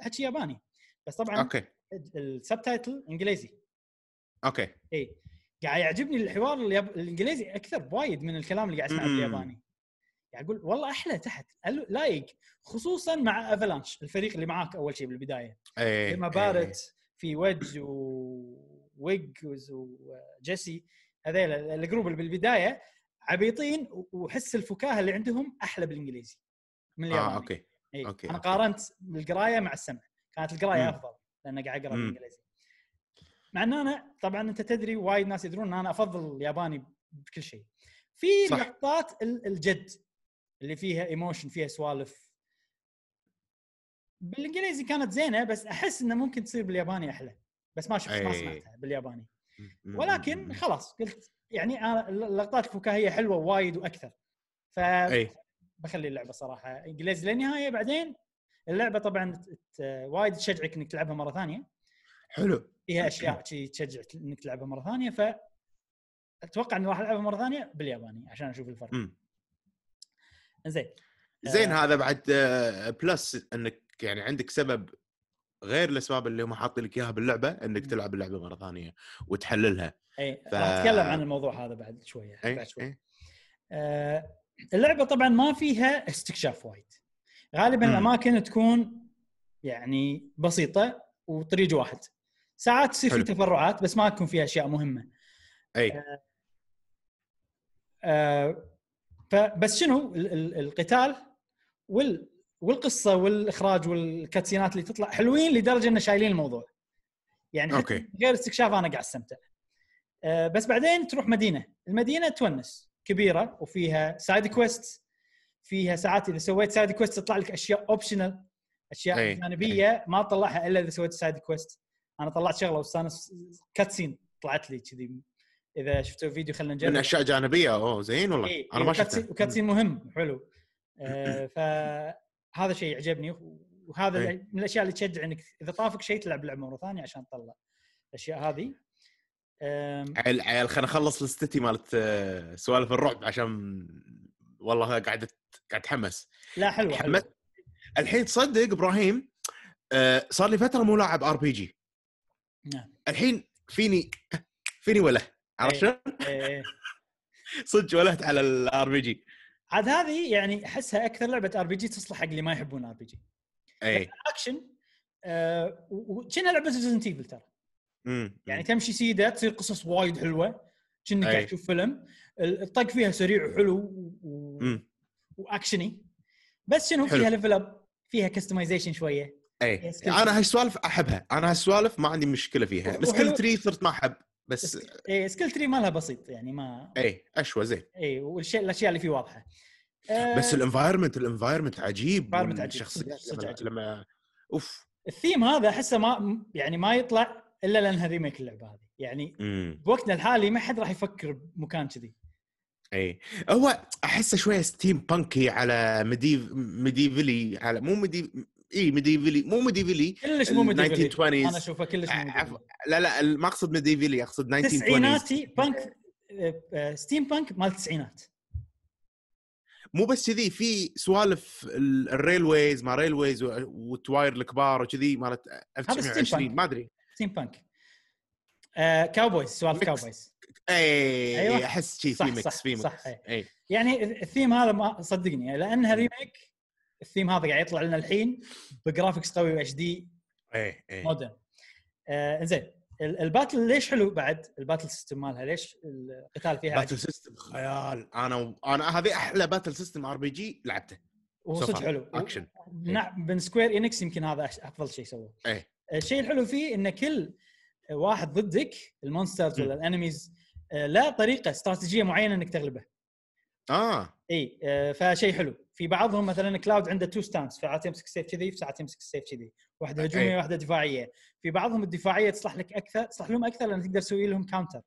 الحكي ياباني بس طبعا
اوكي
السبتايتل انجليزي
اوكي
اي إيه. قاعد يعجبني الحوار الياب... الانجليزي اكثر بوايد من الكلام اللي قاعد اسمعه
مم.
بالياباني يعني اقول والله احلى تحت ألو- لايق خصوصا مع افلانش الفريق اللي معاك اول شيء بالبدايه
اي
لما
بارت
بارت في ويدج وويجز وجيسي هذيل ال- الجروب اللي بالبدايه عبيطين و- وحس الفكاهه اللي عندهم احلى بالانجليزي من الياباني
اه اوكي
إيه.
أوكي،
انا
أوكي.
قارنت القرايه مع السمع كانت القرايه
مم.
افضل لان قاعد اقرا
مم.
بالانجليزي مع ان انا طبعا انت تدري وايد ناس يدرون ان انا افضل الياباني بكل شيء في
صح.
لقطات ال- الجد اللي فيها ايموشن فيها سوالف بالانجليزي كانت زينه بس احس انه ممكن تصير بالياباني احلى بس ما شفت ما
أي.
سمعتها بالياباني
إيه. مم.
ولكن
مم.
خلاص قلت يعني انا اللقطات الفكاهيه حلوه وايد واكثر ف
اي
بخلي اللعبه صراحه انجليزي للنهايه بعدين اللعبه طبعا ت- ت- وايد تشجعك انك تلعبها مره ثانيه
حلو
فيها اشياء شي تشجعك انك تلعبها مره ثانيه ف اتوقع اني راح العبها مره ثانيه بالياباني عشان اشوف الفرق
مم.
زين
زين هذا بعد آه، بلس انك يعني عندك سبب غير الاسباب اللي هم حاطين لك اياها باللعبه انك
مم.
تلعب اللعبه مره ثانيه وتحللها
اي
ف-
راح اتكلم عن الموضوع هذا بعد شويه
اي
بعد شوي
اي
آه، اللعبه طبعا ما فيها استكشاف وايد غالبا
مم.
الاماكن تكون يعني بسيطه وطريق واحد ساعات تصير في
حلو.
تفرعات بس ما تكون فيها اشياء مهمه
اي
آه، فبس شنو ال- ال- القتال وال والقصه والاخراج والكاتسينات اللي تطلع حلوين لدرجه انه شايلين الموضوع. يعني حتى
أوكي.
غير استكشاف انا قاعد استمتع. آه، بس بعدين تروح مدينه، المدينه تونس كبيره وفيها سايد كويست فيها ساعات اذا سويت سايد كويست تطلع لك اشياء اوبشنال اشياء
أي،
جانبيه ما تطلعها الا اذا سويت سايد كويست. انا طلعت شغله واستانس كاتسين طلعت لي كذي اذا شفتوا فيديو خلينا
من
نجرب
اشياء جانبيه اوه زين والله
إيه،
انا
إيه،
ما
وكاتسين-
شفتها
وكاتسين مهم حلو آه، فهذا شيء عجبني وهذا
إيه.
من الاشياء اللي تشجع انك اذا طافك شيء تلعب لعبه مره ثانيه عشان تطلع الاشياء هذه آم،
عيل عيل خلينا نخلص الستي مالت آه، سوالف الرعب عشان والله قاعد قاعد اتحمس
لا حلوه حلوه
حمد الحين تصدق ابراهيم آه، صار لي فتره مو لاعب ار بي جي
نعم.
الحين فيني فيني وله عرفت
إيه.
شلون؟
إيه، إيه.
صدق ولهت على الار بي جي
عاد هذه يعني احسها اكثر لعبه ار بي جي تصلح حق اللي ما يحبون ار بي جي (laughs)
اي
اكشن آه، و- وكأنها لعبه ريزنت ايفل ترى
مم.
يعني تمشي سيده تصير قصص وايد حلوه كأنك
أي.
قاعد تشوف فيلم الطق فيها سريع وحلو و-
مم.
واكشني بس شنو
حلو.
فيها ليفل اب فيها كستمايزيشن شويه
اي
Yes,
انا هالسوالف احبها انا هالسوالف ما عندي مشكله فيها
وحلو-
سكيل تري صرت ما احب بس
إيه سكيل تري مالها بسيط يعني ما
اي اشوى زين
اي والشيء الاشياء اللي فيه واضحه آه،
بس الانفايرمنت الانفايرمنت عجيب
environment عجيب.
الشخصيات
صدق- صدق
لما,
عجيب.
لما اوف
الثيم هذا احسه ما يعني ما يطلع الا لانها ريميك اللعبه هذه يعني
مم.
بوقتنا الحالي ما حد راح يفكر بمكان كذي
اي إيه. هو احسه شويه ستيم بانكي على ميديف ميديفلي على مو ميديف اي ميديفلي مو ميديفلي
كلش مو مديفل
1920s.
انا اشوفه كلش مو مديفل
عفوا. لا لا ما اقصد ميديفلي اقصد 1920s
تسعيناتي بانك آه، آه، ستيم بانك مال التسعينات
مو بس كذي في سوالف ال- الريلويز ما ريلويز و- والتواير الكبار وكذي مالت
steampunk.
1920 ما ادري
ستيم بانك آه، كاوبويز سوالف
Mixed.
كاوبويز
اي
أيوة.
أيوة. احس شي في
صح،
ميكس
صح،
في إيه، ميكس
صح، أي.
اي
يعني الثيم هذا ما صدقني لانها ريميك الثيم هذا قاعد يطلع لنا الحين بجرافكس قوي واتش دي
اي اي
مودرن آه زين الباتل ليش حلو بعد الباتل سيستم مالها ليش القتال فيها
باتل
عجيب؟
سيستم خيال انا و... انا هذه احلى باتل سيستم ار بي جي لعبته
وهو
so
صدق
far.
حلو
اكشن
نعم من سكوير انكس يمكن هذا أش- افضل شيء سووه
إيه.
الشيء الحلو فيه ان كل واحد ضدك المونسترز
م.
ولا الانميز آه، له طريقه استراتيجيه معينه انك تغلبه
اه
اي آه، فشيء حلو في بعضهم مثلا كلاود عنده تو ستانس فساعات يمسك السيف كذي فساعات يمسك السيف كذي واحده هجوميه
أي.
واحده دفاعيه في بعضهم الدفاعيه تصلح لك اكثر تصلح لهم اكثر لان تقدر تسوي لهم كاونتر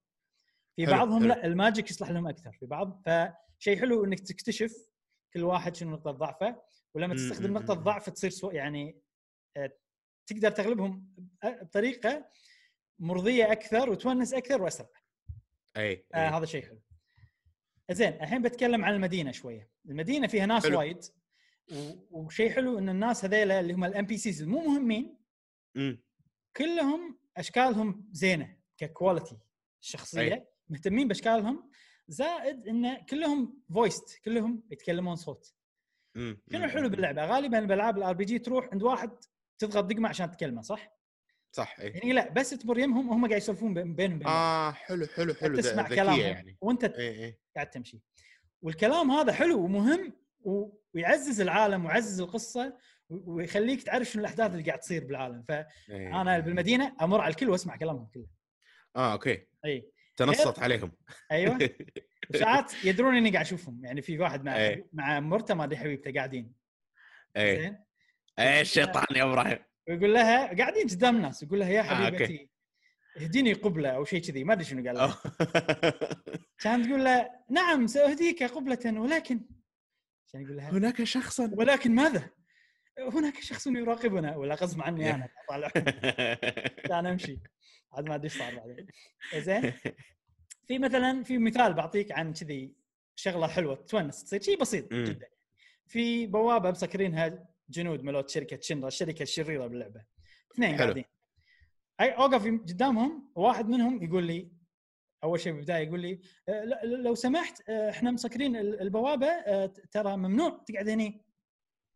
في
حلو،
بعضهم
حلو.
لا الماجيك يصلح لهم اكثر في بعض فشيء حلو انك تكتشف كل واحد شنو نقطه ضعفه ولما
مم،
تستخدم
مم،
نقطه
مم.
ضعف تصير سو يعني آه، تقدر تغلبهم آه، بطريقه مرضيه اكثر وتونس اكثر واسرع
اي
آه هذا شيء حلو. زين الحين بتكلم عن المدينه شويه. المدينه فيها ناس
حلو.
وايد و- وشيء حلو ان الناس هذيلا اللي هم الام بي سيز المو مهمين
مم.
كلهم اشكالهم زينه ككواليتي الشخصيه
أي.
مهتمين باشكالهم زائد ان كلهم فويست كلهم يتكلمون صوت.
مم.
شنو
مم.
الحلو باللعبه؟ غالبا بالالعاب الار بي جي تروح عند واحد تضغط دقمه عشان تكلمه ص؟ح؟
صح اي
يعني لا بس تمر يمهم هم قاعد يسولفون بين- بينهم بين بعض.
اه حلو حلو حلو
تسمع
ذكية
كلامهم
يعني
وانت
اي اي
قاعد تمشي والكلام هذا حلو ومهم و- ويعزز العالم ويعزز القصه و- ويخليك تعرف شنو الاحداث اللي قاعد تصير بالعالم
إي.
فانا بالمدينه امر على الكل واسمع كلامهم كله
اه اوكي
اي
تنصت عليهم (laughs)
ايوه ساعات يدرون اني قاعد اشوفهم يعني في واحد مع
إي.
مع مرته ما ادري حبيبته قاعدين
اي
زين
اي الشيطان يا
(laughs)
ابراهيم
ويقول لها قاعدين قدام ناس يقول لها يا
آه، أوكي. آه.
حبيبتي اهديني قبله او شيء كذي ما ادري شنو قال لها
أوه.
كانت تقول له نعم ساهديك قبله ولكن كان يقول لها
هناك شخصا
ولكن ماذا؟ هناك شخص يراقبنا ولا غصب عني
(laughs)
انا طالع انا امشي عاد ما ادري ايش صار بعدين
(laughs)
زين في مثلا في مثال بعطيك عن كذي شغله حلوه تونس تصير شيء بسيط
مم.
جدا في بوابه مسكرينها جنود ملوت شركه شنرا الشركه الشريره باللعبه اثنين
حلو.
قاعدين اي اوقف قدامهم واحد منهم يقول لي اول شيء بالبدايه يقول لي "أه، لا- لو سمحت أه، احنا مسكرين ال- البوابه أه، ت- ترى ممنوع تقعد هني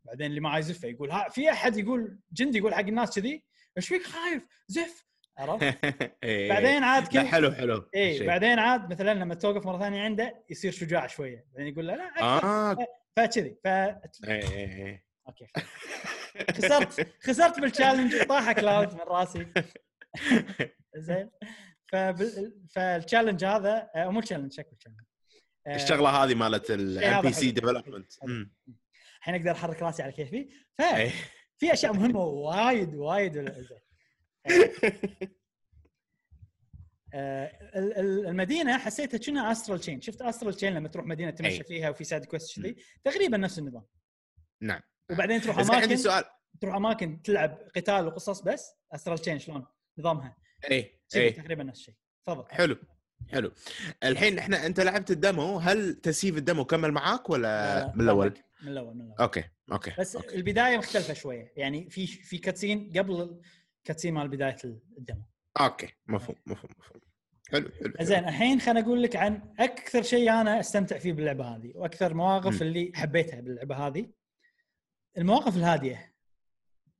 بعدين اللي معاه يزفه يقول ها في احد يقول جندي يقول حق الناس كذي ايش فيك خايف زف عرفت
(laughs) إي.
بعدين عاد
إيه، لا
كل
حلو حلو
اي
الشيء.
بعدين عاد مثلا لما توقف مره ثانيه عنده يصير شجاع شويه يعني يقول له لا أكثر.
اه
فكذي ف
اي اي اي
اوكي خسرت خسرت بالتشالنج طاح كلاود من
(laughs)
راسي زين فبال... فالتشالنج هذا آه، مو تشالنج شكله تشالنج آه، إيه،
الشغله هذه مالت
هذا
الام بي سي
حلو.
ديفلوبمنت
حلو. الحين اقدر احرك راسي على كيفي ففي
اي
اشياء مهمه وايد وايد ولا-
(laughs)
زين آه، ال- ال- المدينه حسيتها كنا استرال تشين شفت استرال تشين لما تروح مدينه تمشى
أي.
فيها وفي سايد كويست
مم.
كذي تقريبا نفس النظام
نعم.
وبعدين تروح
بس عندي
اماكن
سؤال
تروح اماكن تلعب قتال وقصص بس استرال تشين شلون نظامها
اي
كذي
اي
تقريبا نفس الشيء تفضل
إيه، حلو حلو الحين احنا انت لعبت الدمو هل تسييف الدمو كمل
لا،
معاك ولا
لا،
آه، من الاول؟
ضربك. من الاول من الاول
اوكي اوكي
بس
أوكي.
البدايه مختلفه شويه يعني في في كاتسين قبل الكاتسين مال بدايه الدمو
اوكي مفهوم مفهوم مفهوم حلو حلو حلو.
زين الحين خليني اقول لك عن اكثر شيء انا استمتع فيه باللعبه هذه واكثر مواقف
مم.
اللي حبيتها باللعبه هذه المواقف الهاديه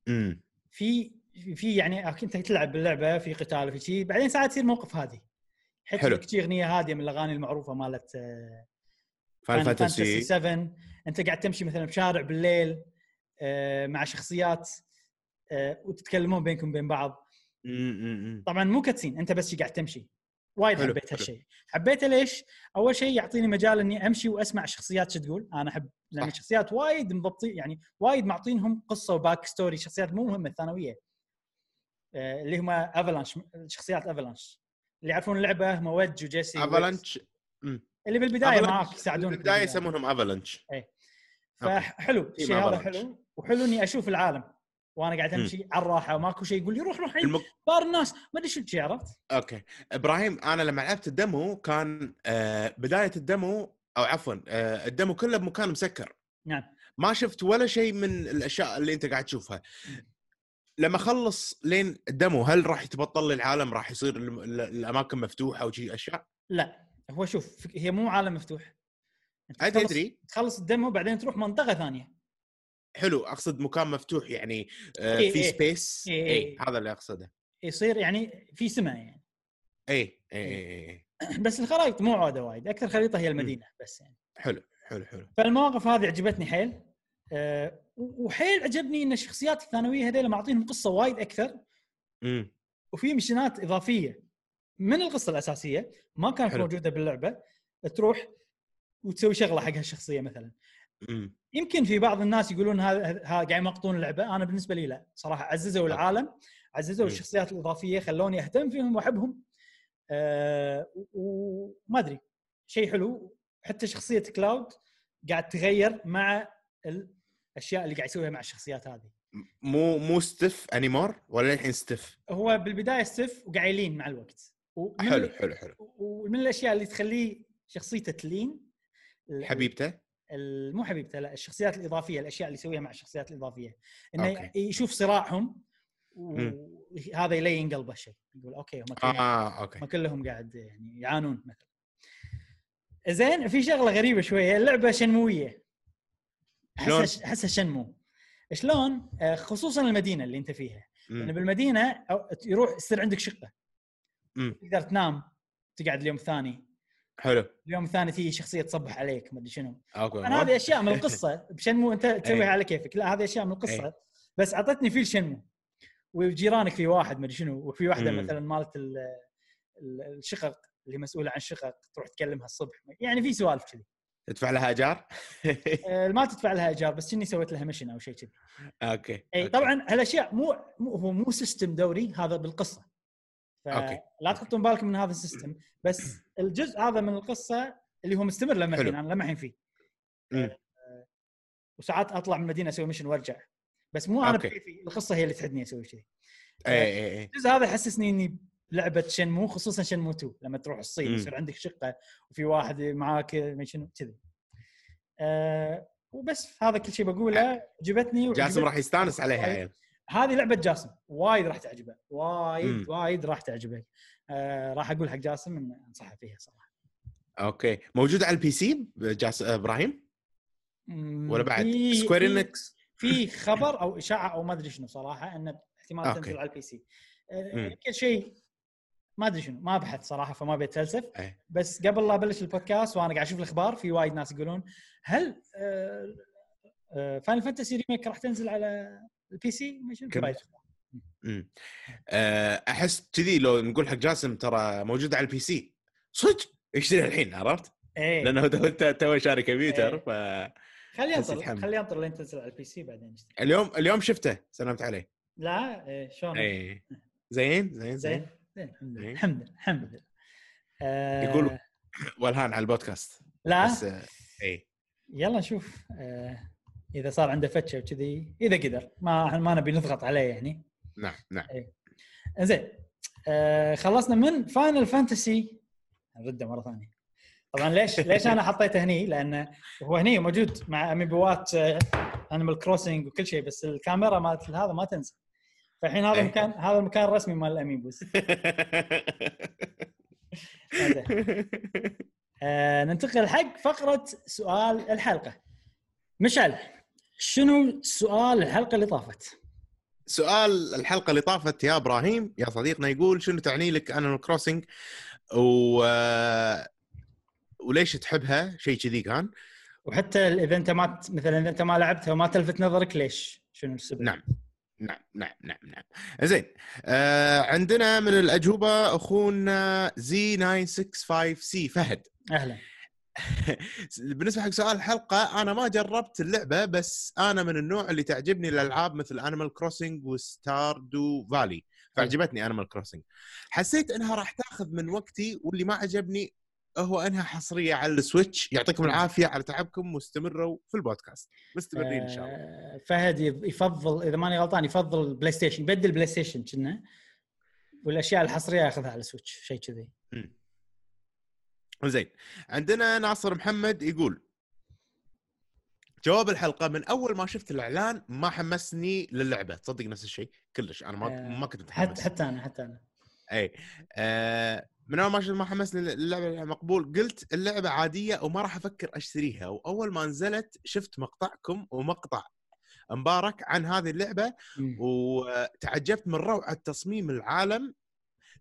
أمم.
في في يعني أوكي، انت تلعب باللعبه في قتال وفي شيء بعدين ساعات يصير موقف هادي حتى
حلو.
لك شي اغنيه هاديه من الاغاني المعروفه مالت آه،
فاينل
Final Fantasy
فانتسي
7 انت قاعد تمشي مثلا بشارع بالليل آه، مع شخصيات آه، وتتكلمون بينكم بين بعض
أمم، أمم، أمم.
طبعا مو كاتسين انت بس شي قاعد تمشي وايد
حلو،
حبيت
حلو.
هالشيء حبيته ليش اول شيء يعطيني مجال اني امشي واسمع الشخصيات شو تقول انا احب لان
صح.
الشخصيات وايد مضبطين يعني وايد معطينهم قصه وباك ستوري شخصيات مو مهمه ثانويه آه، اللي هم افلانش شخصيات افلانش اللي يعرفون اللعبه هم وج وجيسي وويكس.
افالانش
اللي بالبدايه
Avalanche.
معاك يساعدونك
البدايه
بالبداية.
يسمونهم افالانش أوكي.
فحلو الشيء هذا
Avalanche.
حلو وحلو اني اشوف العالم وانا قاعد
مم.
امشي على الراحه وماكو شيء يقول لي روح روح
المك...
بار الناس ما ادري شو شي، عرفت
اوكي ابراهيم انا لما لعبت الدمو كان آه بدايه الدمو او عفوا آه الدمو كله بمكان مسكر
نعم.
ما شفت ولا شيء من الاشياء اللي انت قاعد تشوفها لما اخلص لين الدمو هل راح يتبطل لي العالم راح يصير الم- ال- الاماكن مفتوحه وشي اشياء
لا هو شوف هي مو عالم مفتوح أنت
ادري
تخلص-
ادري
تخلص الدمو بعدين تروح منطقه ثانيه
حلو اقصد مكان مفتوح يعني آه
إيه،
في
إيه.
سبيس
إيه،
اي
إيه.
هذا اللي اقصده
يصير يعني في سماء يعني (clears throat)
اي اي
إيه.
اي إي.
بس الخرائط مو عوده وايد اكثر خريطه هي المدينه بس يعني
حلو حلو حلو
فالمواقف هذه عجبتني حيل أه و- وحيل عجبني ان الشخصيات الثانويه هذول معطينهم قصه وايد اكثر
امم
وفي مشينات اضافيه من القصه الاساسيه ما كانت
حلو.
موجوده باللعبه تروح وتسوي شغله حق هالشخصيه مثلا
مم.
يمكن في بعض الناس يقولون هذا هذا قاعد يمقطون اللعبه انا بالنسبه لي لا صراحه عززوا العالم عززوا
مم.
الشخصيات الاضافيه خلوني اهتم فيهم واحبهم أه وما ادري شيء حلو حتى شخصيه كلاود قاعد تغير مع الاشياء اللي قاعد يسويها مع الشخصيات هذه
مو مو ستف انيمور ولا الحين ستف
هو بالبدايه ستيف وقاعد يلين مع الوقت ومن
حلو حلو حلو
ومن الاشياء اللي تخليه شخصيته تلين ال-
حبيبته
ال- مو حبيبته لا الشخصيات الاضافيه الاشياء اللي يسويها مع الشخصيات الاضافيه انه
أوكي.
يشوف صراعهم
مم.
وهذا يلين قلبه شيء يقول اوكي هم كلهم, آه.
اه اوكي
ما كلهم قاعد يعني يعانون مثلا زين في شغله غريبه شويه اللعبه شنمويه
شلون؟
احسها احسها شنمو شلون آه، خصوصا المدينه اللي انت فيها
مم.
لان بالمدينه أو- يروح يصير عندك شقه
مم.
تقدر تنام تقعد اليوم الثاني
حلو
اليوم الثاني تيجي شخصيه تصبح عليك ما ادري شنو
اوكي
انا هذه اشياء من
(laughs)
القصه بشنمو انت تسويها
أي.
على كيفك لا هذه اشياء من القصه
أي.
بس اعطتني فيل شنمو وجيرانك في واحد ما ادري شنو وفي واحده
مم.
مثلا مالت ال- ال- الشقق اللي مسؤوله عن الشقق تروح تكلمها الصبح يعني في سوالف كذي
تدفع لها اجار؟
آه، ما تدفع لها ايجار بس كني سويت لها مشن او شيء كذي
اوكي
اي
(laughs) أوكي.
طبعا هالاشياء مو مو هو مو سيستم دوري هذا بالقصه
أوكي.
فلا تحطون بالكم من هذا السيستم بس الجزء هذا من القصه اللي هو مستمر لما
حلو.
الحين انا لما الحين فيه آه،
مم.
وساعات اطلع من المدينه اسوي مشن وارجع بس مو انا
أوكي.
بكيفي القصه هي اللي تحدني اسوي شيء
اي اي اي
الجزء هذا يحسسني اني لعبه شنمو خصوصا شنمو 2 لما تروح الصين
مم.
يصير عندك شقه وفي واحد معاك ما شنو كذي أه وبس هذا كل شيء بقوله عجبتني
جاسم
وعجبت-
راح يستانس عليها يعني. عيل
هذه لعبه جاسم وايد راح تعجبه وايد
مم.
وايد راح تعجبه آه راح اقول حق جاسم انه انصحه فيها صراحه
اوكي موجود على البي سي جاس ابراهيم
مم،
ولا بعد
في-
سكوير
في-
انكس
في خبر او اشاعه او ما ادري شنو صراحه انه احتمال
أوكي.
تنزل على البي سي
مم.
آه كل شيء ما ادري شنو ما بحث صراحه فما بيتفلسف
أي.
بس قبل لا ابلش البودكاست وانا قاعد اشوف الاخبار في وايد ناس يقولون هل آه آه فاينل فانتسي ريميك راح تنزل على البي سي ما شنو طيب.
كم-
وايد أخبار.
احس آه، كذي لو نقول حق جاسم ترى موجود على البي سي صدق يشتري الحين عرفت؟
ايه
لانه (laughs) تو- تو تو شاري كمبيوتر
إيه.
ف
خليه
بس
ينطر
يتحمل.
خليه ينطر لين تنزل على البي سي بعدين يشتري.
اليوم اليوم شفته سلمت عليه
لا إيه، شلون
اي زين
زين
زين زين
زين الحمد لله
زين.
الحمد لله الحمد لله آه،
يقولوا. والهان على البودكاست
لا
بس آه، اي
يلا نشوف آه، اذا صار عنده فتشه وكذي اذا قدر ما ما نبي نضغط عليه يعني
نعم نعم
زين آه، خلصنا من فاينل فانتسي نرده مره ثانيه طبعا ليش ليش انا حطيته هني لانه هو هني موجود مع اميبوات انيمال كروسنج وكل شيء بس الكاميرا مالت هذا ما تنسى فالحين هذا
أي.
المكان هذا المكان الرسمي مال الاميبوس زين. آه، ننتقل حق فقرة سؤال الحلقة. مشعل شنو سؤال الحلقة اللي طافت؟
سؤال الحلقه اللي طافت يا ابراهيم يا صديقنا يقول شنو تعني لك انيمال كروسنج و وليش تحبها شيء كذي كان
وحتى اذا انت ما مثلا اذا انت ما لعبتها وما تلفت نظرك ليش؟ شنو السبب؟
نعم. نعم نعم نعم نعم زين آه عندنا من الاجوبه اخونا زي 965 سي فهد
اهلا
بالنسبه حق سؤال الحلقه انا ما جربت اللعبه بس انا من النوع اللي تعجبني الالعاب مثل انيمال كروسنج وستار دو فالي فعجبتني انيمال كروسنج حسيت انها راح تاخذ من وقتي واللي ما عجبني هو انها حصريه على السويتش يعطيكم العافيه على تعبكم واستمروا في البودكاست مستمرين ان شاء الله
آه، فهد يف- يفضل اذا ماني غلطان يفضل البلاي ستيشن يبدل بلاي ستيشن كنا والاشياء الحصريه ياخذها على السويتش شيء كذي
زين عندنا ناصر محمد يقول جواب الحلقه من اول ما شفت الاعلان ما حمسني للعبه تصدق نفس الشيء كلش انا ما
آه،
ما كنت متحمس
حتى حتى انا حتى انا
اي آه من اول ما شفت ما حمسني اللعبه مقبول قلت اللعبه عاديه وما راح افكر اشتريها واول ما نزلت شفت مقطعكم ومقطع مبارك عن هذه اللعبه
مم.
وتعجبت من روعه تصميم العالم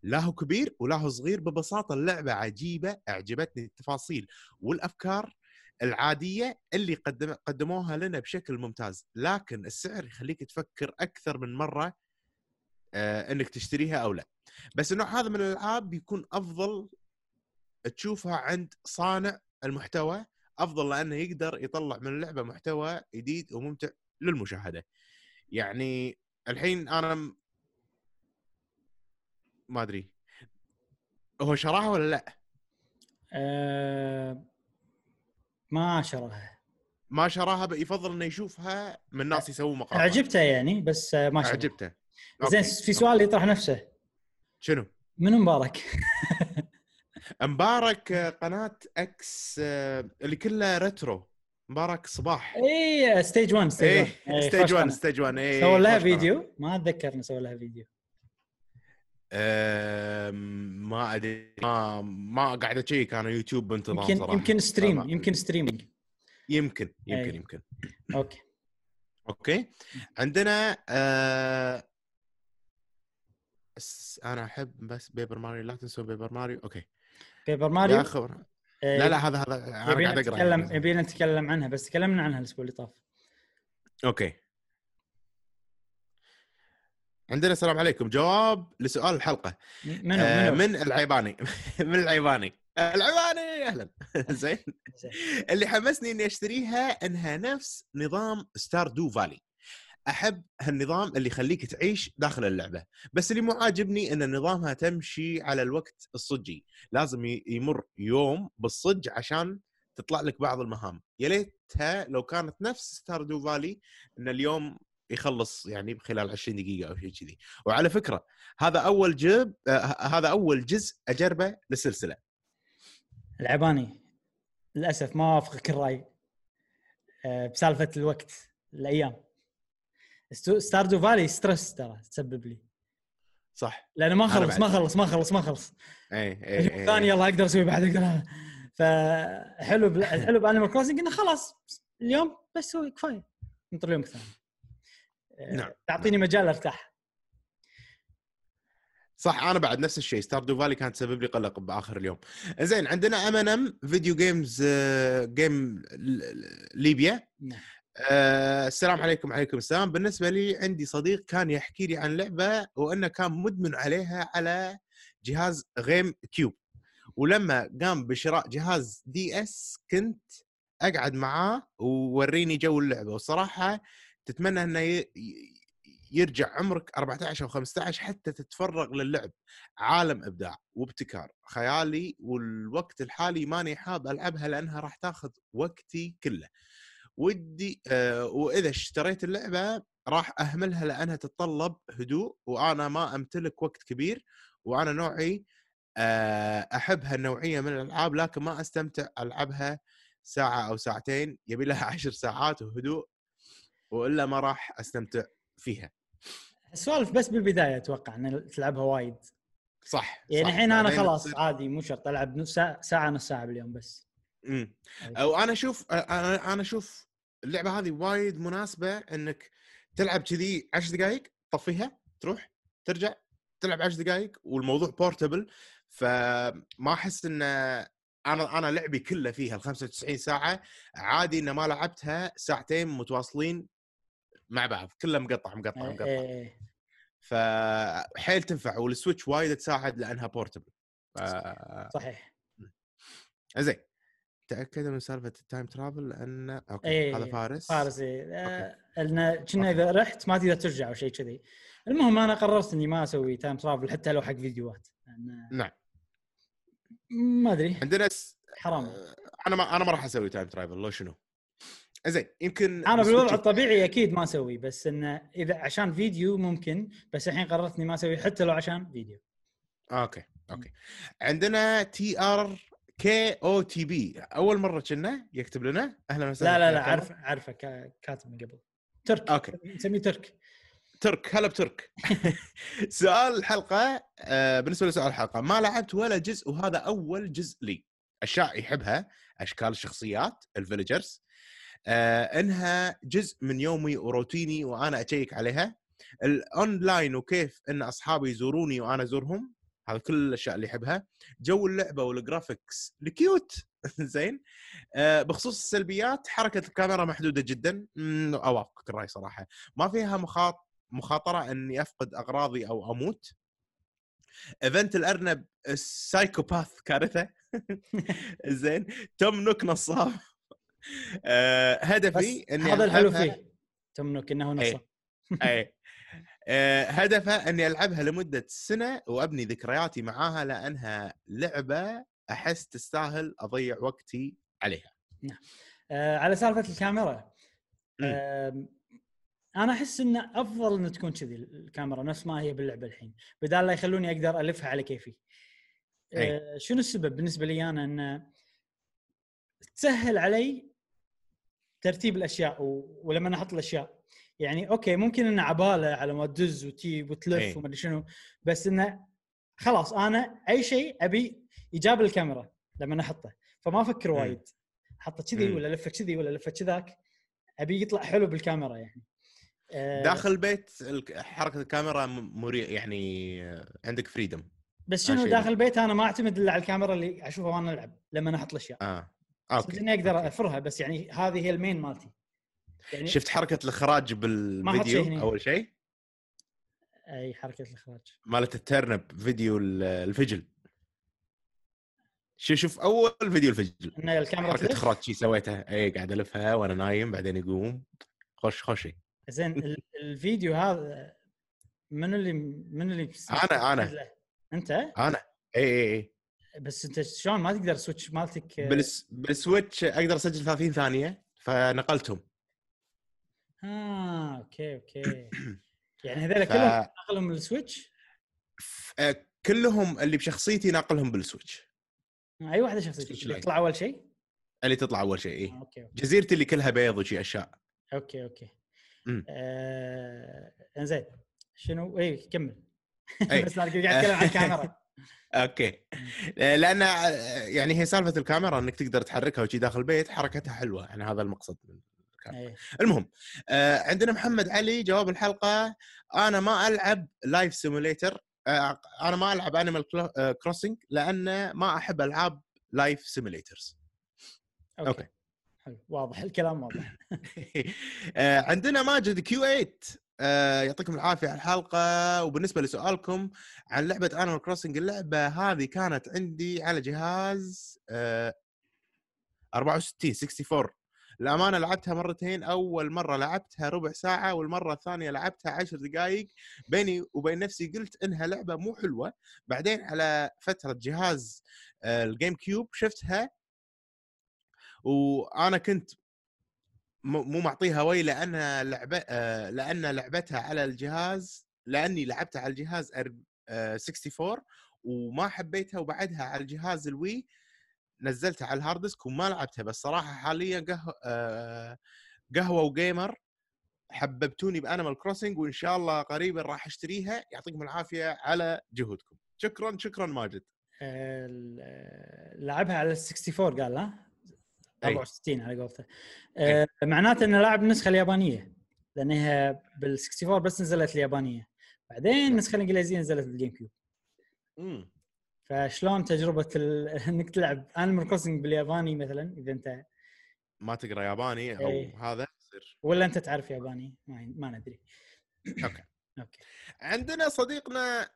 لا هو كبير ولا هو صغير ببساطه اللعبه عجيبه اعجبتني التفاصيل والافكار العاديه اللي قدم قدموها لنا بشكل ممتاز لكن السعر يخليك تفكر اكثر من مره آه انك تشتريها او لا بس النوع هذا من الالعاب بيكون افضل تشوفها عند صانع المحتوى افضل لانه يقدر يطلع من اللعبه محتوى جديد وممتع للمشاهده يعني الحين انا م- ما ادري هو شراها ولا لا
آه ما شراها
ما شراها بقى يفضل انه يشوفها من ناس يسووا مقاطع
عجبته يعني بس آه، ما شراها
عجبته
زين
أوكي.
في سؤال يطرح نفسه
شنو
منو مبارك؟
مبارك آه، قناه اكس آه، اللي كلها ريترو مبارك صباح
اي ستيج 1
ايه
ستيج 1
ستيج 1 ستيج 1 ايه
إيه، سووا لها
خوش قناة.
فيديو ما اتذكر انه سووا لها فيديو
أم، ما ادري ما ما قاعد اشيك انا يوتيوب بانتظام
يمكن
صراحه
يمكن إيه. ستريم
ما-
يمكن ستريمينج
يمكن يمكن
أي.
يمكن
اوكي
اوكي عندنا آه... أس- انا احب بس بيبر ماريو لا تنسوا بيبر ماريو اوكي
بيبر
يا
ماريو
خبر
آه،
لا لا هذا هذا انا
يبينا
قاعد اقرا
نتكلم
يعني.
يبينا نتكلم عنها بس تكلمنا عنها الاسبوع اللي طاف
اوكي عندنا السلام عليكم جواب لسؤال الحلقه
م- منو
آه،
منو
من العيباني (laughs) من العيباني العيباني اهلا (laughs) زين
زين.
اللي حمسني اني اشتريها انها نفس نظام ستار دو فالي احب هالنظام اللي يخليك تعيش داخل اللعبه بس اللي مو عاجبني ان نظامها تمشي على الوقت الصجي لازم ي- يمر يوم بالصج عشان تطلع لك بعض المهام يا ليتها لو كانت نفس ستار دو فالي ان اليوم يخلص يعني خلال 20 دقيقه او شيء كذي وعلى فكره هذا اول جيب آه هذا اول جزء اجربه للسلسله
العباني للاسف ما اوافقك الراي آه، بسالفه الوقت الايام ستو- ستاردو فالي ستريس ترى تسبب لي
صح إيه،
لانه ما
أنا
خلص
بعد.
ما خلص ما خلص ما خلص
اي
اليوم
اي
الثاني
اي
يلا اقدر اسوي بعد اقدر فحلو
(laughs)
بل... الحلو بانيمال كروسنج انه خلاص اليوم بس سوي كفايه ننطر اليوم الثاني آه،
نعم.
تعطيني مجال ارتاح
صح انا بعد نفس الشيء ستار دو فالي كانت تسبب لي قلق باخر اليوم زين عندنا ام ان ام فيديو جيمز آه، جيم ل- ليبيا
نعم.
آه، السلام عليكم عليكم السلام بالنسبه لي عندي صديق كان يحكي لي عن لعبه وانه كان مدمن عليها على جهاز غيم كيوب ولما قام بشراء جهاز دي اس كنت اقعد معاه ووريني جو اللعبه وصراحه تتمنى انه ي- ي- يرجع عمرك 14 او 15 حتى تتفرغ للعب عالم ابداع وابتكار خيالي والوقت الحالي ماني حاب العبها لانها راح تاخذ وقتي كله ودي آه واذا اشتريت اللعبه راح اهملها لانها تتطلب هدوء وانا ما امتلك وقت كبير وانا نوعي آه احب هالنوعيه من الالعاب لكن ما استمتع العبها ساعه او ساعتين يبي لها (laughs) عشر ساعات وهدوء والا ما راح استمتع فيها
السوالف بس بالبدايه اتوقع ان تلعبها وايد
صح
يعني
صح.
الحين انا
بعدين
خلاص
تصير-
عادي مو شرط العب نص ساعه, ساعة نص ساعه باليوم بس
أمم. او انا اشوف أ- انا انا اشوف اللعبه هذه وايد مناسبه انك تلعب كذي 10 دقائق تطفيها تروح ترجع تلعب 10 دقائق والموضوع بورتبل فما احس ان انا انا لعبي كله فيها ال 95 ساعه عادي ان ما لعبتها ساعتين متواصلين مع بعض كله مقطع مقطع
إيه،
مقطع
إيه.
فحيل تنفع والسويتش وايد تساعد لانها بورتبل
صحيح
آه، زين تاكدوا من سالفه التايم ترافل لان اوكي
إيه،
هذا فارس
فارسي آه، لأن كنا اذا رحت ما تقدر ترجع او شيء كذي المهم انا قررت اني ما اسوي تايم ترافل حتى لو حق فيديوهات لأن-
نعم
ما ادري
عندنا س...
حرام
انا ما انا ما راح اسوي تايم ترافل لو شنو زين يمكن
انا بالوضع
نسوي-
الطبيعي اكيد ما اسوي بس انه اذا عشان فيديو ممكن بس الحين قررت اني ما اسوي حتى لو عشان فيديو
اوكي اوكي عندنا تي ار كي او تي بي اول مره كنا يكتب لنا اهلا
لا
وسهلا
لا
فيك
لا
يا
عارف عارفه كا- كاتب من قبل ترك
أوكي.
نسميه ترك
ترك هلا بترك سؤال الحلقه آه، بالنسبه لسؤال الحلقه ما لعبت ولا جزء وهذا اول جزء لي اشياء يحبها اشكال الشخصيات الفيلجرز آه، انها جزء من يومي وروتيني وانا اشيك عليها الاونلاين وكيف ان اصحابي يزوروني وانا ازورهم هذا كل الاشياء اللي يحبها جو اللعبه والجرافكس الكيوت (laughs) زين آه، بخصوص السلبيات حركه الكاميرا محدوده جدا مم، اوافقك الراي صراحه ما فيها مخاط مخاطره اني افقد اغراضي او اموت ايفنت (laughs) الارنب السايكوباث كارثه زين توم نوك نصاب آه،
بس
هدفي اني
هذا الحلو
ألعبها-
فيه تمنك انه
إيه.
نصه
اي آه، هدفها اني العبها لمده سنه وابني ذكرياتي معاها لانها لعبه احس تستاهل اضيع وقتي عليها
آه على سالفه الكاميرا
مم.
آه انا احس ان افضل ان تكون كذي الكاميرا نفس ما هي باللعبه الحين بدال لا يخلوني اقدر الفها على كيفي
أي.
آه شنو السبب بالنسبه لي انا ان تسهل علي ترتيب الاشياء و... ولما احط الاشياء يعني اوكي ممكن انه عباله على ما تدز وتجيب
أي.
وتلف وما ادري شنو بس انه خلاص انا اي شيء ابي يجاب الكاميرا لما احطه فما افكر
مم.
وايد حطه كذي
مم.
ولا لفه كذي ولا لفه كذاك ابي يطلع حلو بالكاميرا يعني آه،
داخل البيت الك- حركه الكاميرا م- مري يعني آه، عندك فريدم
بس شنو
آه، شيء.
داخل البيت انا ما اعتمد الا على الكاميرا اللي اشوفها وانا العب لما انا احط الاشياء
اه
بس
اوكي
اني اقدر افرها بس يعني هذه هي المين مالتي يعني
شفت حركه الاخراج
ما حط شيء هني.
بالفيديو اول شيء
اي حركه الاخراج
مالت الترنب فيديو ال- الفجل شوف شوف اول فيديو الفجل
ان الكاميرا
حركه
تلف
اخراج شي سويتها اي قاعد الفها وانا نايم بعدين يقوم خش خشي
زين ال- الفيديو هذا من اللي من اللي
أنا- أنا.
مسجله؟ انت
اي اي اي
بس انت شلون ما تقدر سويتش مالتك آه،
إيه، بالس... بالسويتش اقدر اسجل 30 ثانيه فنقلتهم
اه اوكي اوكي
(clears throat)
يعني هذول
ف-
كلهم اغلى من السويتش
ف... آه، كلهم اللي بشخصيتي ناقلهم بالسويتش
اي واحده شخصيتك
سويتش
اللي
لايت.
تطلع اول شيء
اللي تطلع اول شيء
آه،
اي
اوكي اوكي
جزيرتي اللي كلها بيض وشي اشياء
اوكي اوكي
مم.
آه... انزين شنو اي كمل
إي.
(laughs) بس انا قاعد اتكلم عن
(laughs)
الكاميرا
اوكي آه، لان آه، يعني هي سالفه الكاميرا انك تقدر تحركها وشي داخل البيت حركتها حلوه يعني هذا المقصد من الكاميرا.
إي.
المهم آه، عندنا محمد علي جواب الحلقه انا ما العب لايف سيموليتر انا آه، ما العب انيمال كروسنج لان آه، ما احب العاب لايف سيموليترز
اوكي
أوكي.
حلو واضح الكلام واضح
(laughs) آه، عندنا ماجد كيو 8 آه، يعطيكم العافيه على الحلقه وبالنسبه لسؤالكم عن لعبه انيمال كروسنج اللعبه هذه كانت عندي على جهاز آه، 64 64 الامانه لعبتها مرتين اول مره لعبتها ربع ساعه والمره الثانيه لعبتها عشر دقائق بيني وبين نفسي قلت انها لعبه مو حلوه بعدين على فتره جهاز آه، الجيم كيوب شفتها وانا كنت مو مو معطيها وي لان لعبه آه، لان لعبتها على الجهاز لاني لعبتها على الجهاز أرب- آه، 64 وما حبيتها وبعدها على الجهاز الوي نزلتها على الهارد ديسك وما لعبتها بس صراحه حاليا قهوه آه، قهوه وجيمر حببتوني بانيمال كروسنج وان شاء الله قريبا راح اشتريها يعطيكم العافيه على جهودكم شكرا شكرا ماجد
آه، ال- آه، لعبها على 64 قال ها
أي.
64 على قولته
إيه.
آه، معناته انه لاعب النسخه اليابانيه لانها بال 64 بس نزلت اليابانيه
نعم.
بعدين النسخه الانجليزيه نزلت بالجيم كيوب فشلون تجربه ال... (laughs) انك تلعب انيمال كروسنج بالياباني مثلا اذا انت
ما تقرا ياباني او
إيه.
هذا يصير
ولا انت تعرف ياباني ما, ما ندري
(coughs)
(coughs)
أوكي.
اوكي
عندنا صديقنا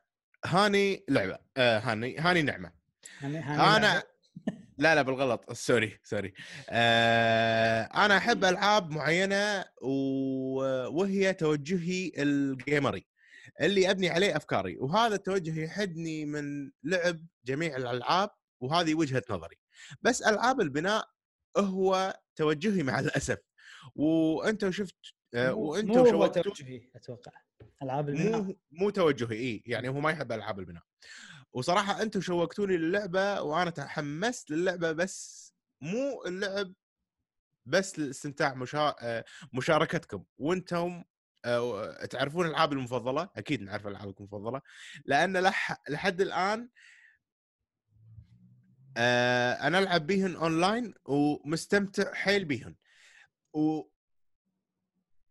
هاني لعبه آه هاني هاني نعمه
هن- هن-
انا لا لا بالغلط سوري سوري آه انا احب العاب معينه و- وهي توجهي الجيمري اللي ابني عليه افكاري وهذا التوجه يحدني من لعب جميع الالعاب وهذه وجهه نظري بس العاب البناء هو توجهي مع الاسف وانتم شفت آه
مو-
وانتم
مو هو
شوقتوني
توجهي اتوقع العاب البناء
مو مو توجهي اي يعني هو ما يحب العاب البناء وصراحه انتم شوقتوني للعبه وانا تحمست للعبه بس مو اللعب بس لاستمتاع مشا... آه، مشاركتكم وانتم آه، تعرفون العاب المفضله اكيد نعرف العابكم المفضله لان لح... لحد الان آه، انا العب بيهن اونلاين ومستمتع حيل بيهن و...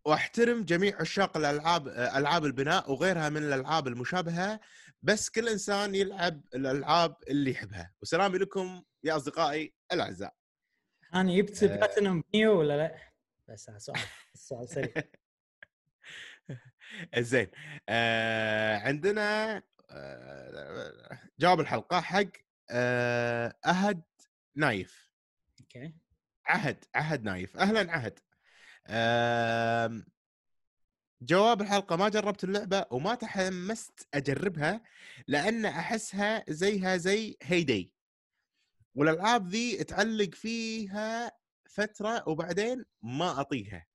واحترم جميع عشاق الالعاب العاب البناء وغيرها من الالعاب المشابهه بس كل انسان يلعب الالعاب اللي يحبها وسلامي لكم يا اصدقائي الاعزاء
انا جبت
آه.
بلاتينوم نيو ولا لا؟ بس هذا
(laughs)
سؤال السؤال سريع
زين آه عندنا آه جواب الحلقه حق آه اهد نايف
اوكي
عهد عهد نايف اهلا عهد آم، جواب الحلقه ما جربت اللعبه وما تحمست اجربها لان احسها زيها زي هيدي والالعاب ذي تعلق فيها فتره وبعدين ما اطيها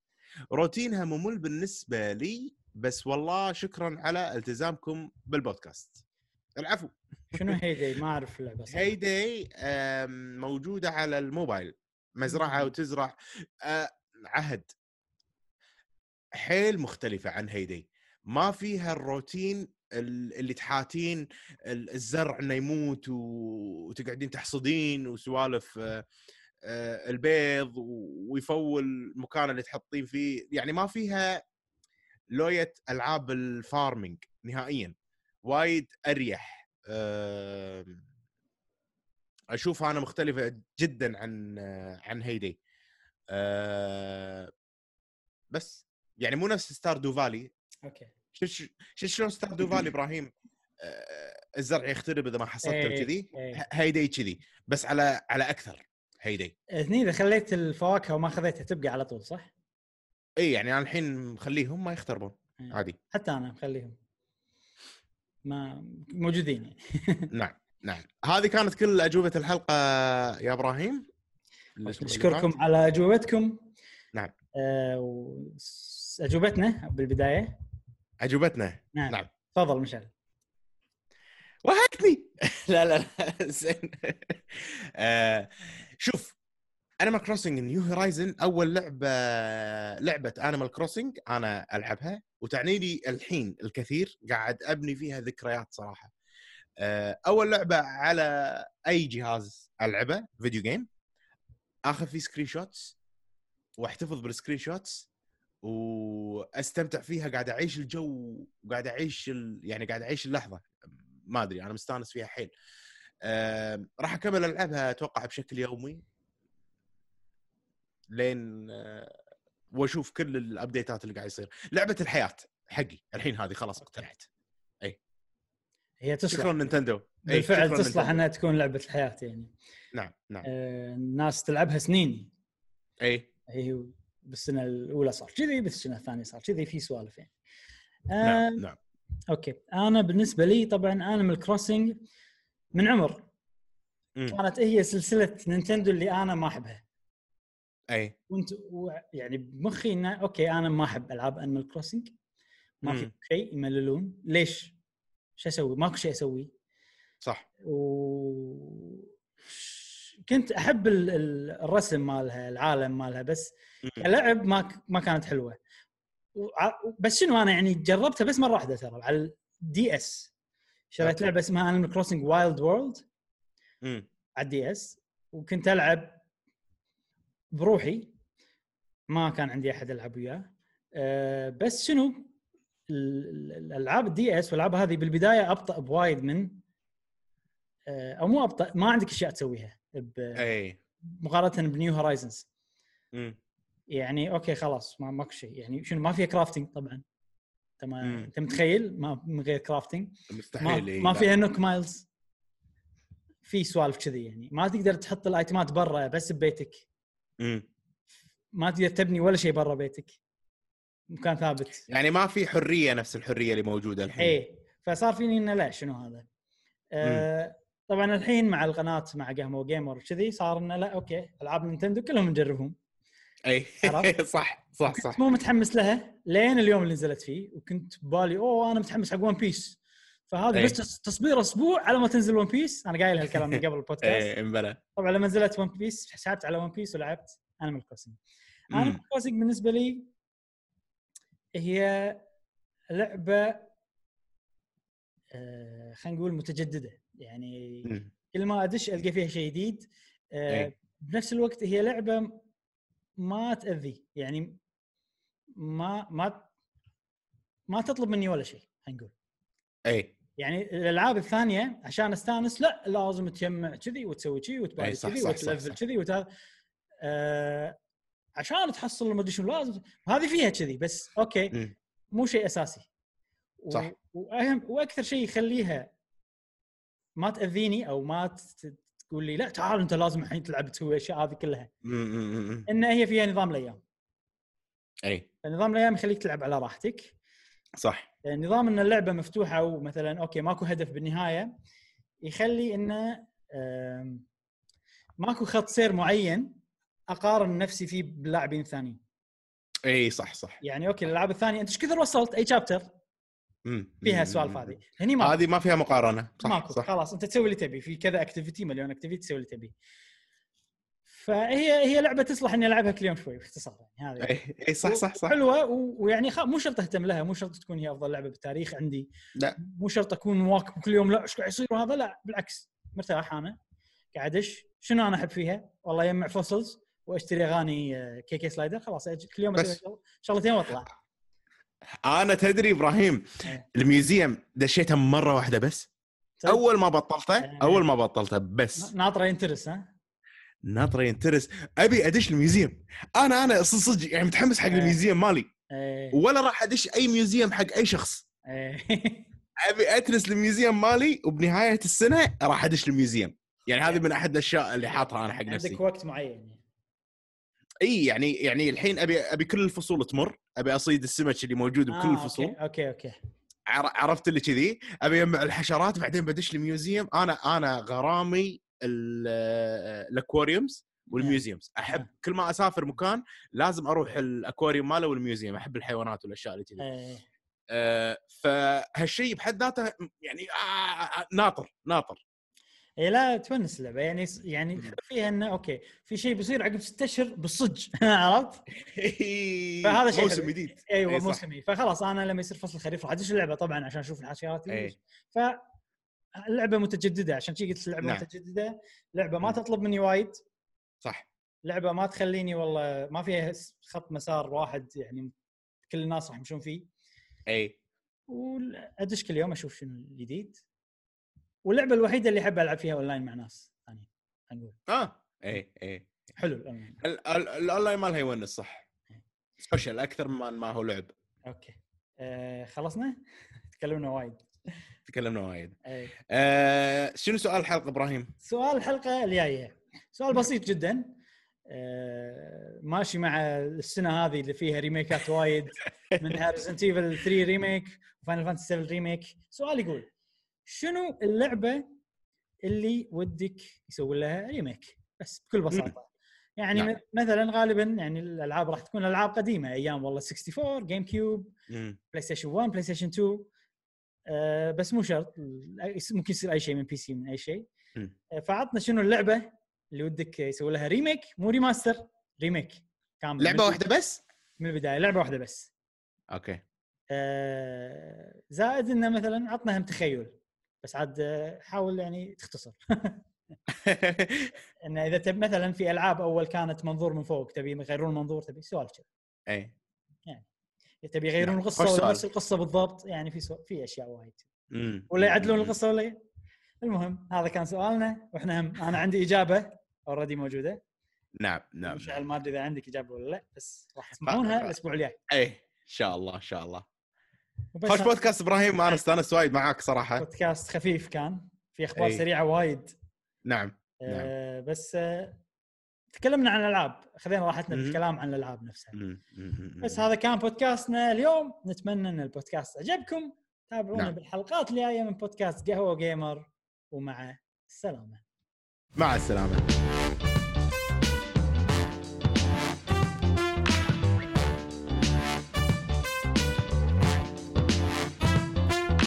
روتينها ممل بالنسبه لي بس والله شكرا على التزامكم بالبودكاست العفو
شنو هيدي ما اعرف اللعبه صراحة.
هيداي موجوده آمم، على الموبايل مزرعه
مم.
وتزرع آه، عهد حيل مختلفه عن هيداي ما فيها الروتين ال- اللي تحاتين ال- الزرع انه يموت و- وتقعدين تحصدين وسوالف آه، آه، البيض و- ويفول المكان اللي تحطين فيه يعني ما فيها لوية العاب الفارمينج نهائيا وايد اريح آم، اشوفها انا مختلفه جدا عن آه، عن هيدي أه بس يعني مو نفس ستار دوفالي
اوكي
شفت شلون ستار دوفالي
(clears throat)
ابراهيم آه، الزرع يخترب اذا ما حصلته
إيه،
كذي
إيه.
هيدي كذي بس على على اكثر هيدي
هني اذا خليت الفواكه وما خذيتها تبقى على طول صح؟
اي يعني انا الحين مخليهم ما يختربون
إيه.
عادي
(laughs) حتى انا مخليهم ما موجودين يعني
نعم نعم هذه كانت كل اجوبه الحلقه يا ابراهيم الأسبوع اللي فات.
نشكركم على اجوبتكم
نعم.
آه وس- اجوبتنا بالبدايه
اجوبتنا
نعم,
نعم.
تفضل مشعل
وهكني (laughs) لا لا لا زين آه، شوف انيمال كروسنج نيو هورايزن اول لعبه لعبه انيمال كروسنج انا العبها وتعني لي الحين الكثير قاعد ابني فيها ذكريات صراحه آه، اول لعبه على اي جهاز العبه فيديو جيم اخذ فيه سكرين شوتس واحتفظ بالسكرين شوتس واستمتع فيها قاعد اعيش الجو وقاعد اعيش ال... يعني قاعد اعيش اللحظه ما ادري انا مستانس فيها حيل آم، راح اكمل العبها اتوقع بشكل يومي لين آه، واشوف كل الابديتات اللي قاعد يصير لعبه الحياه حقي الحين هذه خلاص اقتنعت
هي تصلح
شكرا نينتندو أي،
بالفعل
إيه، شكراً
تصلح
نينتندو.
انها تكون لعبه الحياه يعني
نعم نعم إيه،
آه الناس تلعبها سنين
اي
هي بالسنه الاولى صار كذي بالسنه الثانيه صار كذي في سوالف يعني آه
نعم نعم
اوكي انا بالنسبه لي طبعا انيمال كروسنج من عمر
مم.
كانت هي سلسله نينتندو اللي انا ما احبها
اي
كنت و- يعني بمخي انه اوكي انا ما احب العاب انيمال كروسنج ما في
مم.
شيء يمللون ليش؟ شو اسوي؟ ماكو شيء اسويه
صح
و كنت احب ال- ال- الرسم مالها العالم مالها بس
مم.
كلعب ما ك- ما كانت حلوه وع- بس شنو انا يعني جربتها بس مره واحده ترى على الدي اس شريت
أوكي.
لعبه اسمها انيمال كروسنج وايلد وورلد
مم.
على الدي اس وكنت العب بروحي ما كان عندي احد العب وياه أه بس شنو ال- ال- الالعاب الدي اس والالعاب هذه بالبدايه ابطا بوايد من أه او مو ابطا ما عندك اشياء تسويها ب-
اي
مقارنه بنيو هورايزنز
إيه، مم.
يعني اوكي خلاص ما ماكو شيء يعني شنو ما فيها كرافتنج طبعا انت ما
مم.
انت متخيل ما من غير كرافتنج ما,
مستحيل إي،
ما
لا.
فيها نوك مايلز في سوالف كذي يعني ما تقدر تحط الايتمات برا بس ببيتك
مم.
ما تقدر تبني ولا شيء برا بيتك مكان ثابت
يعني ما في حريه نفس الحريه اللي موجوده الحين
ايه فصار فيني انه لا شنو هذا آه طبعا الحين مع القناه مع قهوه جيمر وكذي صار انه لا اوكي العاب نينتندو كلهم نجربهم
اي
عرفت؟
إيه. (laughs) صح صح صح
مو متحمس لها لين اليوم اللي نزلت فيه وكنت ببالي اوه انا متحمس حق ون بيس فهذه
إيه.
بس تص- تصبير اسبوع على ما تنزل ون بيس انا قايل هالكلام من قبل
(laughs)
البودكاست
ايه امبلا
طبعا لما نزلت ون بيس حسبت على ون بيس ولعبت انيمال كروسنج انيمال
مم.
كروسنج بالنسبه لي هي لعبه آه خلينا نقول متجدده يعني
مم. إيه.
كل ما ادش القى فيها شيء جديد آه
إي.
بنفس الوقت هي لعبه ما تاذي يعني ما ما ما تطلب مني ولا شيء خلينا نقول
اي
يعني الالعاب الثانيه عشان استانس لا لازم تجمع كذي وتسوي كذي وتبادل
أي صح،
كذي
صح، صح،
وتلفل
صح.
كذي وتهذا آه عشان تحصل المدري شنو لازم هذه فيها كذي بس اوكي
مم.
مو شيء اساسي و-
صح.
واهم واكثر شيء يخليها ما تاذيني او ما ت- ت- تقول لي لا تعال انت لازم الحين تلعب تسوي الاشياء هذه كلها
مم، مم، مم.
ان هي فيها نظام الايام
اي
فنظام الايام يخليك تلعب على راحتك
إيه، صح
آه، نظام ان اللعبه مفتوحه ومثلا اوكي ماكو هدف بالنهايه يخلي انه آم، ماكو خط سير معين اقارن نفسي فيه بلاعبين ثانيين
اي إيه، صح صح
يعني اوكي الالعاب الثانيه انت ايش كثر وصلت اي شابتر
مم،
فيها
مم،
السوالف
مم.
هذه هني ماكو
إمم، هذه ما فيها مقارنه صح
ماكو
صح
خلاص انت تسوي اللي تبي في كذا اكتيفيتي مليون اكتيفيتي تسوي اللي تبي فهي هي لعبه تصلح اني العبها كل يوم شوي باختصار يعني هذا
اي إي، إيه، صح صح صح
حلوه و- ويعني خ- مو شرط اهتم لها مو شرط تكون هي افضل لعبه بالتاريخ عندي
لا.
مو شرط اكون مواكب كل يوم لا ايش قاعد يصير وهذا لا بالعكس مرتاح انا قاعد ادش شنو انا احب فيها؟ والله يجمع فوسلز واشتري اغاني آه، كي كي سلايدر خلاص أج- كل يوم
بس.
اسوي شغل- شغلتين واطلع
انا تدري ابراهيم
إيه.
الميوزيوم دشيته مره واحده بس
تصدق؟
اول ما بطلته
إيه.
اول ما بطلته بس
طيب. ن- ناطره ينترس ها؟
ناطر ينترس ابي ادش الميوزيوم انا انا صدق صدق يعني متحمس حق
إيه.
الميوزيوم مالي
إيه،
ولا راح ادش اي ميوزيوم حق اي شخص
إيه.
ابي اترس الميوزيوم مالي وبنهايه السنه راح ادش الميوزيوم يعني هذه من احد الاشياء اللي حاطها انا حق نفسي
إيه. عندك وقت معين يعني.
اي يعني يعني الحين ابي ابي كل الفصول تمر ابي اصيد السمك اللي موجود بكل
آه،
الفصول
اوكي اوكي, أوكي.
عر- عرفت اللي كذي ابي اجمع الحشرات بعدين بدش الميوزيوم انا انا غرامي ال- آه، الاكواريومز والميوزيومز احب كل ما اسافر مكان لازم اروح الاكواريوم ماله والميوزيوم احب الحيوانات والاشياء اللي كذي
إيه.
أه فهالشيء بحد ذاته يعني آه، ناطر ناطر
اي إيه، لا تونس اللعبه يعني يعني
مم.
فيها انه اوكي في شيء بيصير عقب ست اشهر بالصج (laughs) عرفت؟ فهذا شيء
موسم
حلو.
جديد
ايوه
أي إيه، صح.
موسمي فخلاص انا لما يصير فصل الخريف راح ادش اللعبه طبعا عشان اشوف الحاشيات
أي.
ف اللعبه متجدده عشان شي قلت اللعبه
نعم.
متجدده لعبه ما
مم.
تطلب مني وايد
صح
لعبه ما تخليني والله ما فيها خط مسار واحد يعني كل الناس راح يمشون فيه
اي
وادش كل يوم اشوف شنو الجديد واللعبه الوحيده اللي احب العب فيها اونلاين مع ناس ثانيين خلينا نقول
اه
إيه،
اي اي
حلو الاونلاين
ال- ال- الاونلاين مالها يونس صح سبيشل اكثر من ما هو لعب
اوكي آه خلصنا (laughs) تكلمنا وايد
تكلمنا وايد
آه
آه شنو سؤال الحلقه ابراهيم؟
سؤال الحلقه الجايه سؤال بسيط جدا آه ماشي مع السنه هذه اللي فيها ريميكات وايد من هاريزنت ايفل 3 ريميك وفاينل فانتسي 7 ريميك سؤال يقول شنو اللعبه اللي ودك يسوي لها ريميك بس بكل بساطه يعني
نعم.
نعم. مثلا غالبا يعني الالعاب راح تكون العاب قديمه ايام والله 64 جيم كيوب بلاي ستيشن 1 بلاي ستيشن 2 آه بس مو شرط ال- ممكن يصير اي شيء من بي سي من اي شيء
مم.
آه فعطنا شنو اللعبه اللي ودك يسوي لها ريميك مو ريماستر ريميك كامل
لعبه
من-
واحده بس؟
من البدايه لعبه واحده بس
(laughs) اوكي
آه زائد انه مثلا عطنا هم تخيل بس عاد آه، حاول يعني تختصر (laughs) انه اذا تب مثلا في العاب اول كانت منظور من فوق تبي يغيرون المنظور تبي سوالف كذي
اي
تبي يغيرون
نعم.
القصه
خوش
ولا
سؤال.
نفس القصه بالضبط يعني في سو... في اشياء وايد
مم.
ولا يعدلون القصه ولا ي- المهم هذا كان سؤالنا واحنا هم انا عندي اجابه اوريدي موجوده
نعم نعم
مشعل ما ادري اذا عندك اجابه ولا لا بس راح
آه،
تسمعونها
آه.
الاسبوع الجاي
اي ان شاء الله ان شاء الله
وبس
خوش
هذا
بودكاست ابراهيم انا استانست وايد معاك صراحه
بودكاست خفيف كان في اخبار
إي.
سريعه وايد
إيه. نعم
آه بس آه تكلمنا عن الالعاب خذينا راحتنا
مهم.
بالكلام عن الالعاب نفسها
مم. مم.
بس هذا كان بودكاستنا اليوم نتمنى ان البودكاست عجبكم تابعونا
نعم.
بالحلقات اللي جايه من بودكاست قهوه جيمر ومع السلامه
مع السلامه